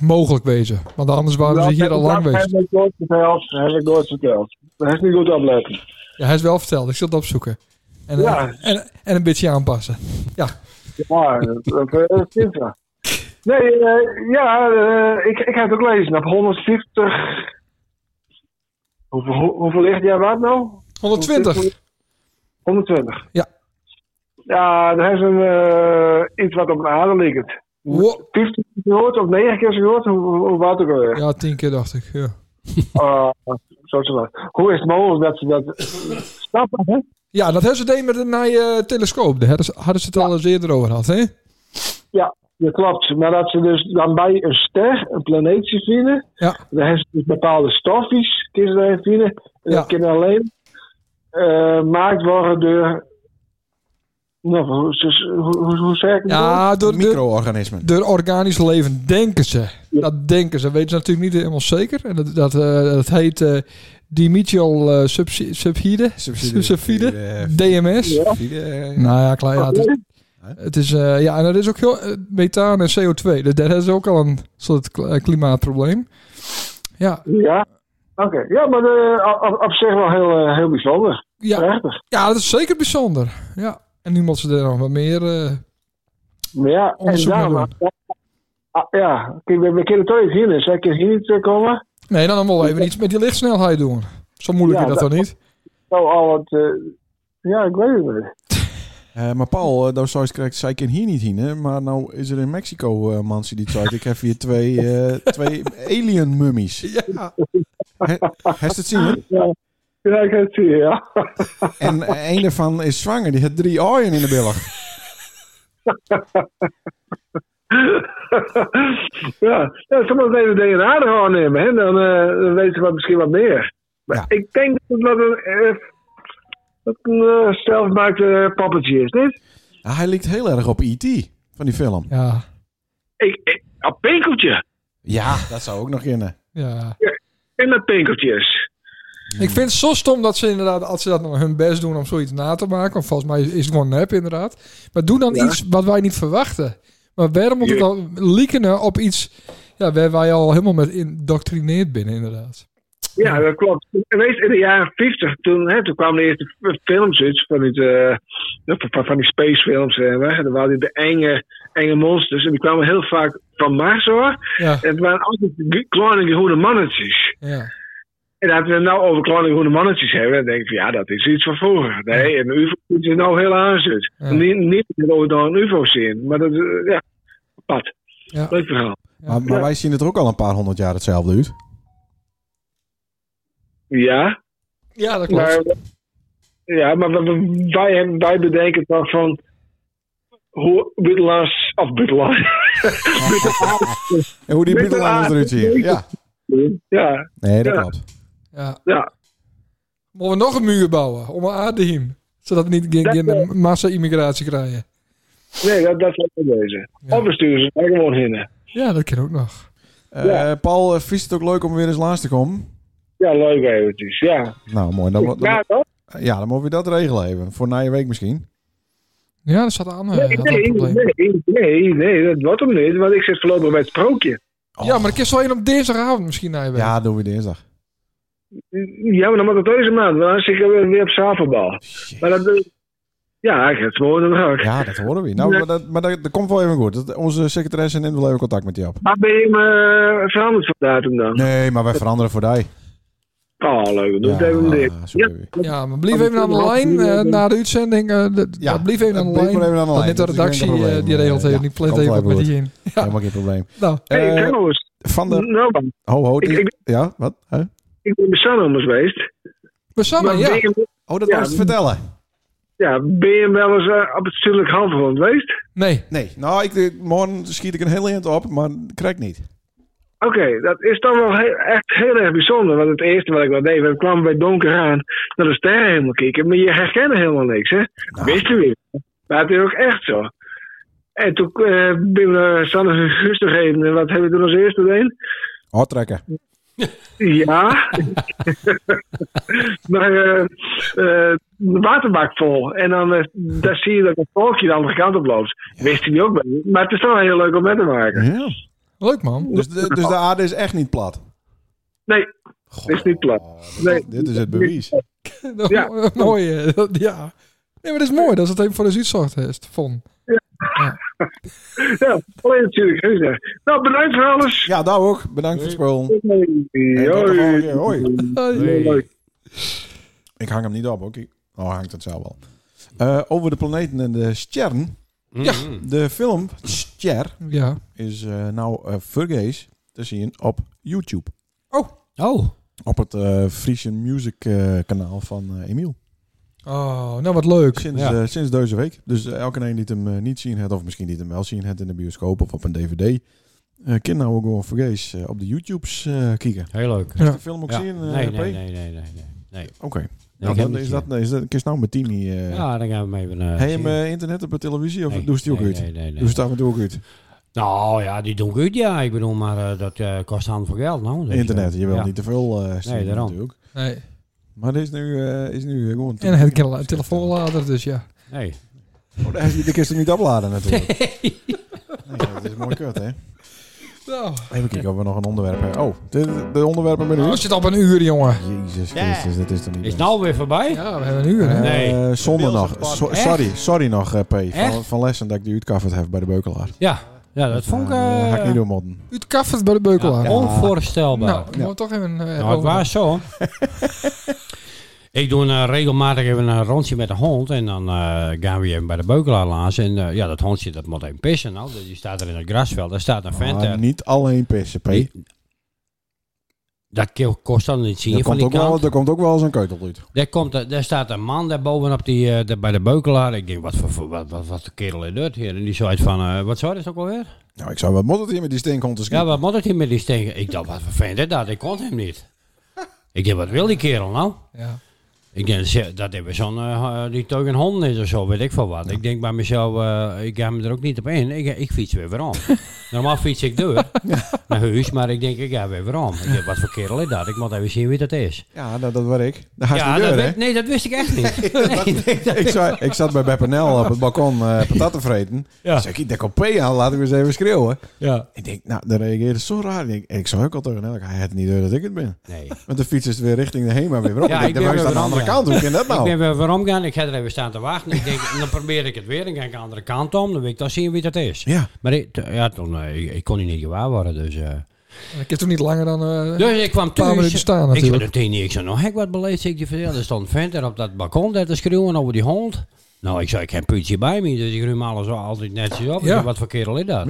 S1: mogelijk wezen. Want anders waren ze hier al lang
S6: Nou, Dat
S1: geweest.
S6: heb ik nooit verteld. Dat heb ik nooit verteld. Dat is niet goed opletten.
S1: Ja, hij is wel verteld. Ik zal het opzoeken. En, eh,
S6: Ja.
S1: en, en een beetje aanpassen.
S6: Ja, dat- dat dat is zo. Nee, eh, ja, eh, ik, ik heb het ook gelezen. Op 150... Hoeveel, hoe- hoeveel lichtjaar wat nou?
S1: 120.
S6: 120.
S1: Ja.
S6: Ja, er is een, eh, iets wat op de aarde ligt.
S1: Wow.
S6: 50 keer gehoord of 9 keer gehoord, hoe, hoe, hoe wat ook alweer.
S1: Ja, tien keer dacht ik. Ja.
S6: Eh, zo is het wel. Hoe is het mogelijk dat ze dat snappen? Hè?
S1: Ja, dat hebben ze deed met een nieuwe telescoop. Daar hadden ze- hadden ze het al eens eerder over gehad, hè?
S6: Dat klopt, maar dat ze dus dan bij een ster, een planeetje vinden,
S1: Ja.
S6: dan hebben ze dus bepaalde stofjes, die ze daarin vinden, en
S1: Ja.
S6: dat kunnen alleen eh, gemaakt worden door, nou, hoe, hoe, hoe, hoe zeg ik het nou?
S1: Ja, door, door,
S2: Micro-organismen.
S1: door organisch leven denken ze. Dat denken ze. Weten ze natuurlijk niet helemaal zeker. En dat, dat, eh, dat heet eh Dimithiol eh, subsi- subside.
S2: Subside.
S1: Subside. DMS.
S2: Ja.
S1: Nou ja, klaar. Ja, het is, het is, eh, ja, en dat is ook heel eh, methaan en CO2. Dus dat is ook al een soort kl- eh, klimaatprobleem. Ja,
S6: Ja, oké. Ja, maar eh, op, op zich wel heel, eh, heel bijzonder.
S1: ja,
S6: Prachtig.
S1: ja, dat is zeker bijzonder. Ja. En nu moeten ze er nog wat meer. eh,
S6: Maar ja, en
S1: Onderzoek naar
S6: daarom... Ah, ja, kijk, we, we kunnen toch niet hier, dus wij kunnen hier niet eh, komen.
S1: nee, dan moeten we even iets met die lichtsnelheid doen. Zo moeilijk
S6: Ja,
S1: is dat,
S6: dat-
S1: toch niet?
S6: Nou, al wat... eh, ja, ik weet het niet.
S2: Eh, maar Paul, eh, daar zou je correct zei ik in hier niet heen, hè? maar nou is er in Mexico eh mansie die zei, ik heb hier twee, eh, twee alien mummies.
S1: Ja.
S2: He, heeft het zien? hè?
S6: Ja, ik kan het zien, ja.
S2: En eh, een daarvan is zwanger, die heeft drie ooien in de billig.
S6: ja, ja soms even DNA er gewoon nemen, hè. Dan, eh, dan weten ze wat, misschien wat meer. Maar
S2: Ja.
S6: ik denk dat het een... eh, dat een eh, zelfgemaakte poppetje is, niet?
S2: Ah, hij lijkt heel erg op E.T. van die film.
S1: Ja.
S6: Ik, ik, een pinkeltje.
S2: Ja, dat zou ook nog kunnen.
S1: ja.
S6: En dat pinkeltjes.
S1: Ik vind het zo stom dat ze inderdaad, als ze dat nou hun best doen om zoiets na te maken. Want volgens mij is het gewoon nep, inderdaad. Maar doe dan iets wat wij niet verwachten. Maar waarom moet het dan liekenen op iets ja, waar wij al helemaal met indoctrineerd binnen, inderdaad.
S6: Ja, dat klopt. En Weet, je, in de jaren 50, toen, hè, toen kwamen de eerste f- films uit, van, die, eh, van, van die spacefilms. En er waren die de enge, enge monsters. En die kwamen heel vaak van Mars hoor.
S1: Ja,
S6: En het waren altijd g- kleine groene mannetjes.
S1: ja.
S6: En dat we het nou over kleine groene mannetjes hebben, dan denk ik van ja, dat is iets van vroeger. Nee, een UFO is nou heel aanzet.
S1: Ja.
S6: Niet, niet dat we dan een UFO zien, maar dat is eh, ja, pad.
S1: Ja.
S6: Leuk verhaal.
S2: Maar, maar wij zien het er ook al een paar honderd jaar hetzelfde uit.
S6: Ja.
S1: ja dat klopt.
S6: Maar, ja, maar we- we- wij, hebben- wij bedenken dan van. Hoe Buttelaars. Of Buttelaars.
S2: En hoe die
S6: Met
S2: Beatles
S6: een
S2: eruit zien. Ja,
S6: ja,
S2: nee, dat
S6: Ja.
S2: klopt.
S1: Ja.
S6: ja.
S1: Moeten we nog een muur bouwen om een aarde heen? Zodat we niet geen, geen
S6: Dat, eh,
S1: massa-immigratie krijgen.
S6: Nee, dat, dat zijn we deze.
S1: Ja.
S6: Of we sturen ze daar gewoon heen.
S1: Ja, dat kan ook nog.
S2: Eh, Paul, eh, vies het ook leuk om weer eens langs te komen?
S6: Ja, leuk eventjes. Ja.
S2: Nou, mooi. Dan, dan- eh,
S6: Ja, toch?
S2: ja, dan moeten we dat regelen even. Voor na je week misschien.
S1: Ja, dat staat aan. eh,
S6: Nee,
S1: dat is een
S6: nee,
S1: probleem.
S6: nee, nee, nee, dat wordt hem niet, want ik zit voorlopig bij het sprookje.
S1: Ja, maar ik is wel één op dinsdagavond misschien naar je werk.
S2: Oh, Ja, doen we dinsdag.
S6: Ja, maar dan moet het deze maand, want dan zit ik weer weer op zavelbal. Maar dat. eh, Ja, ik heb het gewoon een dag.
S2: Ja, dat horen we. Nou,
S6: Ja.
S2: maar, dat, maar dat, dat komt wel even goed. Dat- Onze secretaresse neemt wel even contact met je op.
S6: Maar ben je hem eh, veranderd van datum dan?
S2: Nee, maar wij veranderen voor die.
S6: Oh, leuk. Dan
S2: Ja, eh,
S6: deden we dit.
S1: Eh,
S2: super.
S1: Ja, maar blijf even aan de lijn eh, na de uitzending. eh, de- ja, blijf even aan de
S2: blijf
S1: lijn.
S2: maar even aan de
S1: Dat
S2: lijn.
S1: net de
S2: Dat is geen
S1: redactie
S2: probleem.
S1: eh, die regelt
S2: Ja,
S1: even. Die plant
S2: komt
S1: even wat
S2: wel
S1: met
S2: goed.
S1: die in. Ja,
S2: Helemaal geen probleem.
S1: nou.
S6: Hey,
S2: Eh,
S6: kijk nou eens.
S2: van de...
S6: Nou, dan.
S2: Ho, ho.
S6: Ik-
S2: die- ja, wat? Huh?
S6: ik ben bij Sanhommers geweest.
S1: Maar samen,
S6: Maar
S1: ja.
S6: ben je-
S2: Oh, dat
S6: Ja,
S2: was te vertellen.
S6: ja, ben je wel eens eh, op het Zuidelijk Halfrond geweest?
S1: Nee.
S2: Nee, nou, ik, eh, morgen schiet ik een heel eind op, maar krijg ik niet.
S6: Oké, dat is dan wel heel- echt heel erg bijzonder. Want het eerste wat ik wel deed, we kwamen bij donker aan naar de sterren helemaal kijken. Maar je herkende helemaal niks, hè?
S2: Nou.
S6: Wist je weer. Maar het is ook echt zo. En toen eh ben ik naar Sanne Guster gegeven. En wat hebben we toen als eerste gedaan?
S2: Hard trekken.
S6: Ja. maar eh, eh, de waterbak vol. En dan eh, daar zie je dat een volkje de andere kant op loopt. Wist je ook wel. Maar het is wel heel leuk om mee te maken.
S2: Ja.
S1: Leuk, man.
S2: Dus de, dus de aarde is echt niet plat.
S6: Nee, het is niet plat. Nee.
S2: Dit is het bewijs.
S6: Ja.
S1: mooi. eh, dat- ja. Nee, maar dat is mooi. Dat is het even voor de Zuidsoort heeft. Von.
S6: Ja, alleen natuurlijk. hè, zeg. Nou, bedankt voor alles.
S2: Ja, daar ook. Bedankt voor het spelen.
S6: Hoi.
S2: En tot de volgende keer. Hoi.
S1: Eh,
S6: Hoi.
S2: Ik hang hem niet op, oké. Oh, hangt het zo wel. Eh, over de planeten en de sterren.
S7: Ja.
S2: De film Ster
S1: Ja.
S2: is eh, nou eh vergees te zien op YouTube.
S7: Oh,
S2: Op het eh Friese Music eh, kanaal van eh, Emiel.
S1: Oh, nou wat leuk.
S2: Sinds,
S7: Ja.
S2: eh, sinds deze week. Dus eh, elke een die het hem eh, niet zien heeft, of misschien die het hem wel zien heeft in de bioscoop of op een dvd. eh kan nou ook gewoon vergees eh, op de YouTubes eh, kijken.
S7: heel leuk.
S1: Ja.
S2: De film ook
S7: Ja.
S2: zien? eh,
S7: nee,
S2: P?
S7: nee, nee, nee, nee, nee. nee.
S2: Oké.
S7: ik
S2: Nou,
S7: heb
S2: dan
S7: niet
S2: is
S7: zien.
S2: dat, is dat, kun je nou met Tini... eh
S7: Ja, dan gaan we hem even... eh,
S2: Heb je
S7: zien.
S2: hem eh, internet op de televisie of
S7: Nee,
S2: doe je die ook
S7: nee,
S2: uit?
S7: nee, nee, nee.
S2: Doe je het af en toe ook uit?
S7: Nou ja, die doen goed, ja. Ik bedoel, maar eh, dat eh, kost hand voor geld, nou. Dus,
S2: Internet,
S7: eh,
S2: je wil
S7: ja.
S2: niet te veel eh streamen
S7: daarom.
S2: natuurlijk.
S1: Nee.
S2: Maar dit is nu, eh, is nu gewoon...
S1: En het kan een telefoon later, dus ja.
S7: Nee.
S2: Oh, daar is- die kun je hem niet opladen natuurlijk. Nee, dat is mooi kut hè.
S1: Nou,
S2: Even kijken of we nog een onderwerp hebben. Oh, de, de onderwerpen met u.
S7: Oh.
S1: als je het op een uur, jongen.
S2: Jezus Christus, dat is toch niet
S7: Is
S2: best.
S7: het nou weer voorbij?
S1: Ja, we hebben een uur. hè.
S2: Eh,
S7: Nee.
S2: Zonder nog.
S5: Wilson
S2: So-
S7: Echt?
S2: sorry, sorry nog eh, P. Van,
S7: Echt?
S2: van lessen dat ik die uitcoverd heb bij de Beukelaar.
S7: Ja, ja dat vond ik...
S2: Eh,
S7: eh,
S2: ga ik niet doen modden.
S1: U het kaffert bij de beukelaar.
S7: ja, onvoorstelbaar.
S1: Nou, ik moet toch even... eh,
S7: Nou, het
S1: over-
S7: was zo. ik doe eh, regelmatig even een rondje met de hond. En dan eh, gaan we even bij de beukelaar langs. En eh, ja, dat hondje dat moet even pissen. Nou, Dus die staat er in het grasveld. Daar staat een vent.
S2: Maar
S7: er.
S2: niet alleen pissen, P.
S7: Die- Dat ke- kost dan niet zien
S2: Er
S7: van
S2: komt,
S7: die
S2: ook wel,
S7: kant.
S2: er komt ook wel eens een keutel uit.
S7: Daar, komt, er- daar staat een man daar bovenop die, eh, daar bij de beukelaar. Ik denk, wat voor- voor wat, wat, wat de kerel in dat hier? En die zei van, eh, wat zou dat ook alweer?
S2: Nou, ik zou wat moet het hier met die stinkhond te
S7: Ja,
S2: schieten?
S7: wat moet het hier met die steken? Ik dacht, wat voor vent is dat? Ik kon hem niet. Ik denk, wat wil die kerel nou?
S1: Ja.
S7: Ik denk ze- dat hij weer zo'n eh, die teug een hond is of zo, weet ik veel wat. Ik denk bij mezelf, eh, ik ga me er ook niet op in. Ik, ik fiets weer weer om. Normaal fiets ik door naar huis, maar ik denk, ik ga weer weer om. Ik denk, wat voor kerel is dat? Ik moet even zien wie dat is.
S2: Ja, nou, dat, dat was ik. Daar gaat
S7: ja,
S2: de
S7: dat
S2: deur, hè?
S7: weet- nee, dat wist ik echt niet. Nee, nee, dat-
S2: Ik, zou, ik zat bij Beppanel op het balkon eh patatten vreten.
S7: Ja.
S2: Zeg ik, daar komt P aan, laten we eens even schreeuwen.
S7: ja.
S2: Ik denk, nou, daar reageerde zo raar. Ik, denk, ik zou ook al tegen hem, hij had niet door dat ik het ben.
S7: Nee.
S2: Want de fiets is weer richting de HEMA weer op.
S7: Ja,
S2: ik
S7: ik
S2: denk,
S7: ben
S2: waar is
S7: weer
S2: dat aan de andere
S7: veranderd.
S2: kant? Hoe kan dat
S7: Ik
S2: nou?
S7: ben weer weer omgaan, ik ga er even staan te wachten. Ik denk, dan probeer ik het weer, dan ga ik aan de andere kant om. Dan weet ik dan zien wie dat is.
S2: Ja.
S7: Maar ik, ja, toen, eh, ik, ik kon die niet gewaar worden, dus... eh,
S1: En Ik heb toen niet langer dan... eh,
S7: Dus ik kwam
S1: paar
S7: thuis.
S1: minuten staan
S7: ik zei
S1: natuurlijk.
S7: dat Tini, ik zei, nou heb ik wat beleefd. Ik die vertelde, er stond een vent er op dat balkon daar te schreeuwen over die hond. Nou, ik zei, ik heb putje bij me, dus ik ruim alles wel altijd netjes op. Ik
S1: Ja.
S7: zei, wat voor kerel is dat?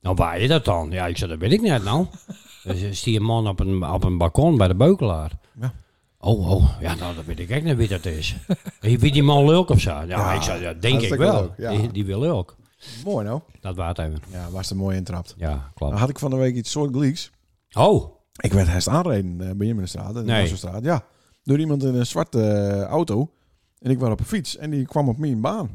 S7: Nou, waar is dat dan? Ja, ik zei, dat weet ik net nou. dus is die een man op een, op een balkon bij de beukelaar.
S2: Ja.
S7: Oh, oh, ja, nou, dat weet ik echt niet wie dat is. Wie wie die man lulk of zo? Ja,
S2: Ja,
S7: ik zei, ja, denk ik
S2: hartstikke
S7: wel.
S2: leuk, ja.
S7: Die, die wil lulk.
S2: Mooi nou.
S7: Dat waard even.
S2: Ja, was er mooi intrapt.
S7: Ja,
S2: Dan
S7: klopt.
S2: had ik van de week iets soort gleeks.
S7: Oh,
S2: Ik werd herst aanreden eh, bij hem in de straat. In de
S7: Nee.
S2: Wassenstraat, ja. Door iemand in een zwarte eh, auto. En ik was op een fiets. En die kwam op mijn baan.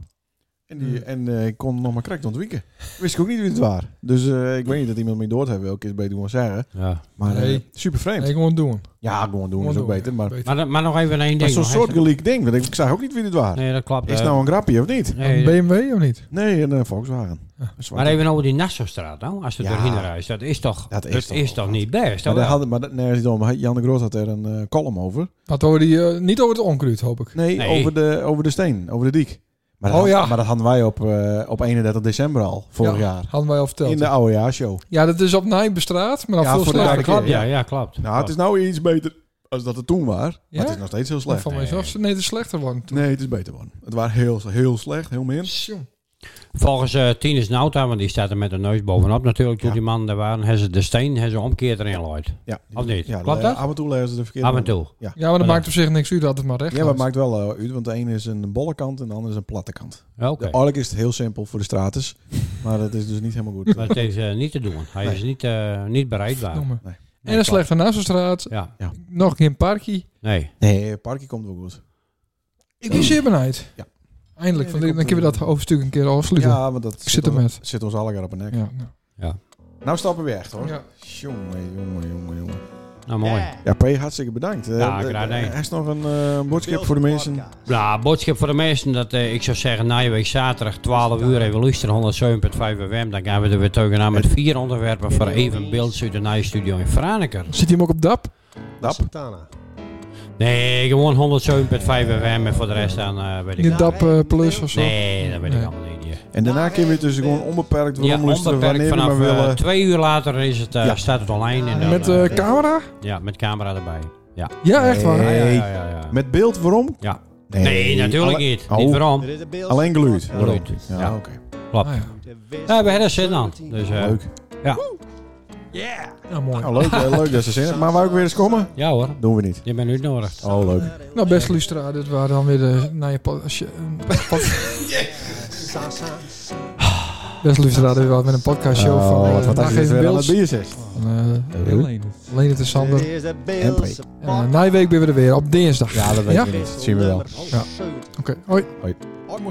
S2: En, die, en eh, ik kon nog maar correct ontwieken. Wist ik ook niet wie het was. Dus eh, ik weet niet dat iemand me door te hebben. Welke is beter gewoon zeggen.
S7: ja.
S2: Maar eh,
S1: Nee.
S2: super vreemd.
S1: Nee, gewoon doen.
S2: Ja, gewoon doen is
S1: Gewoon
S2: ook
S1: doen,
S2: beter.
S1: ja.
S2: Maar,
S1: Beter.
S7: Maar, maar nog even één
S2: maar
S7: ding.
S2: zo'n
S7: nog
S2: soort
S7: even.
S2: geliek ding. Want ik, ik zag ook niet wie het was.
S7: Nee, dat klopt.
S2: Is het
S7: eh,
S2: nou een grapje of niet?
S7: Nee,
S1: BMW of niet?
S2: Nee, een eh, Volkswagen. Een zwarte.
S7: maar even over die Nassaustraat nou, als je
S2: Ja.
S7: doorheen reist, dat is toch,
S2: Dat
S7: dat
S2: is
S7: is
S2: toch
S7: toch,
S2: wel
S7: niet best?
S2: Maar
S7: hoor.
S2: daar hadden, maar dat, nee, dat is niet om. Jan de Groot had er een eh, column over.
S1: Wat over die, eh, niet over het onkruid, hoop ik.
S2: Nee,
S7: Nee.
S2: Over, de, over de steen, over de diek. Maar dat,
S1: Oh
S2: had-
S1: ja.
S2: maar dat hadden wij op, eh, op 31 december al, vorig
S1: Ja,
S2: jaar.
S1: Hadden wij al verteld.
S2: In de oudejaarshow.
S1: Ja, dat is op Nijbestraat, maar dan
S2: Ja,
S1: veel
S2: voor de
S1: slechter.
S2: duidelijkheid.
S7: ja, ja, klopt.
S2: Nou, het is nou iets beter als dat het toen was.
S1: Ja?
S2: Maar het is nog steeds heel slecht.
S1: Van mij zelfs. Nee, de slechter one.
S2: Nee, het is beter man. Het was heel, heel slecht, heel min.
S1: Tjong.
S7: Volgens eh Tinus Nauta, want die staat er met de neus bovenop natuurlijk, toen
S2: Ja.
S7: die man er waren, hebben ze de steen hebben ze omkeerd erin gelooid.
S2: Ja.
S7: Of niet?
S2: Ja,
S7: Klopt
S2: de-
S7: dat?
S2: Af en toe lezen ze de verkeerde.
S7: Af en toe.
S1: Ja, maar dat
S7: Ja.
S1: maakt op zich niks uit dat het maar recht
S2: Ja, maar het
S1: was.
S2: maakt wel eh, uit, want de ene is een bolle kant en de andere is een platte kant.
S7: Oké.
S2: De Eigenlijk is het heel simpel voor de stratus, maar dat is dus niet helemaal goed.
S7: Maar het is eh, niet te doen. Hij is niet, eh, niet bereikbaar.
S1: Noem maar.
S2: Nee.
S7: Nee,
S1: en een
S7: klopt.
S1: slechte Nassenstraat.
S7: Ja,
S1: Nog geen parkie.
S7: nee.
S2: Nee, parkje komt wel goed.
S1: Ik ben zeer benijd.
S2: Ja.
S1: Eindelijk.
S2: Nee,
S1: want
S2: dat
S1: dan
S2: komt,
S1: kunnen we dat
S2: eh,
S1: hoofdstuk een keer afsluiten. Ja.
S2: Ja, want dat
S1: zit er
S2: ons-
S1: met.
S2: zit ons alle keer op een nek.
S1: Ja, nou.
S2: Nou stappen we echt hoor.
S1: Ja.
S2: Jongen, jongen, jongen, jongen.
S7: Nou, mooi.
S2: Ja, P, hartstikke bedankt.
S7: Ja,
S2: Eh, eh,
S7: Nou, graag gedaan.
S2: Er is nog een eh boodschap voor de mensen.
S7: Nou, boodschap voor de meesten dat eh, ik zou zeggen, na je week zaterdag 12 uur even luisteren, 107.5 WM. Dan gaan we er weer tegenaan met vier onderwerpen voor even beeld uit de nieuwe studio in Franeker.
S1: Zit hij hem ook op DAP?
S2: Dap.
S8: Santana.
S7: Nee, gewoon 107.5 WM en voor de rest dan eh weet ik
S1: Niet
S7: niet.
S1: DAP eh, Plus of zo?
S7: Nee, dat weet ik
S1: Nee.
S7: allemaal niet. ja.
S2: En daarna kun je dus gewoon onbeperkt weer
S7: Ja,
S2: omluisteren
S7: onbeperkt
S2: wanneer je maar
S7: vanaf
S2: wil.
S7: eh,
S2: eh,
S7: twee uur later is het, eh,
S2: Ja.
S7: staat het online. En dan,
S1: Met
S7: eh,
S1: eh, camera?
S7: ja, met camera erbij. Ja.
S1: Ja, echt waar.
S2: Nee.
S7: Ja, ja, ja, ja.
S2: Met beeld, waarom?
S7: Ja. Nee, natuurlijk
S2: alle-
S7: niet.
S2: Oh,
S7: Niet waarom.
S8: Er is een beeld.
S2: Alleen geluid.
S8: Ja,
S2: Waarom?
S7: Geluid.
S2: Ja,
S7: Ja.
S2: oké.
S7: Klopt.
S1: Ah, ja.
S7: Ja, we hebben zin aan. Dus, eh,
S2: Leuk.
S1: Ja, mooi.
S2: Nou, leuk, eh, leuk dat ze zin hebben. Maar wou ik weer eens komen?
S7: ja hoor,
S2: Doen we niet.
S7: je bent nu nodig.
S2: Oh, leuk.
S1: Nou, beste Lustra, dit waren dan weer de... Nou, je pod- als je- een pod- beste Lustra, dit was met een podcastshow
S2: Oh,
S1: van... eh,
S2: wat
S1: Dag
S2: fantastisch
S1: Even
S2: weer aan
S1: Beels.
S2: het bier zit.
S1: Van, eh, Lene de Sander.
S8: Er is een
S2: En P.
S8: beeld.
S1: En eh, na je week ben we er weer op dinsdag.
S2: Ja, dat weet
S1: Ja?
S2: ik niet. Dat zien we wel.
S1: Oké, hoi.
S8: Oké.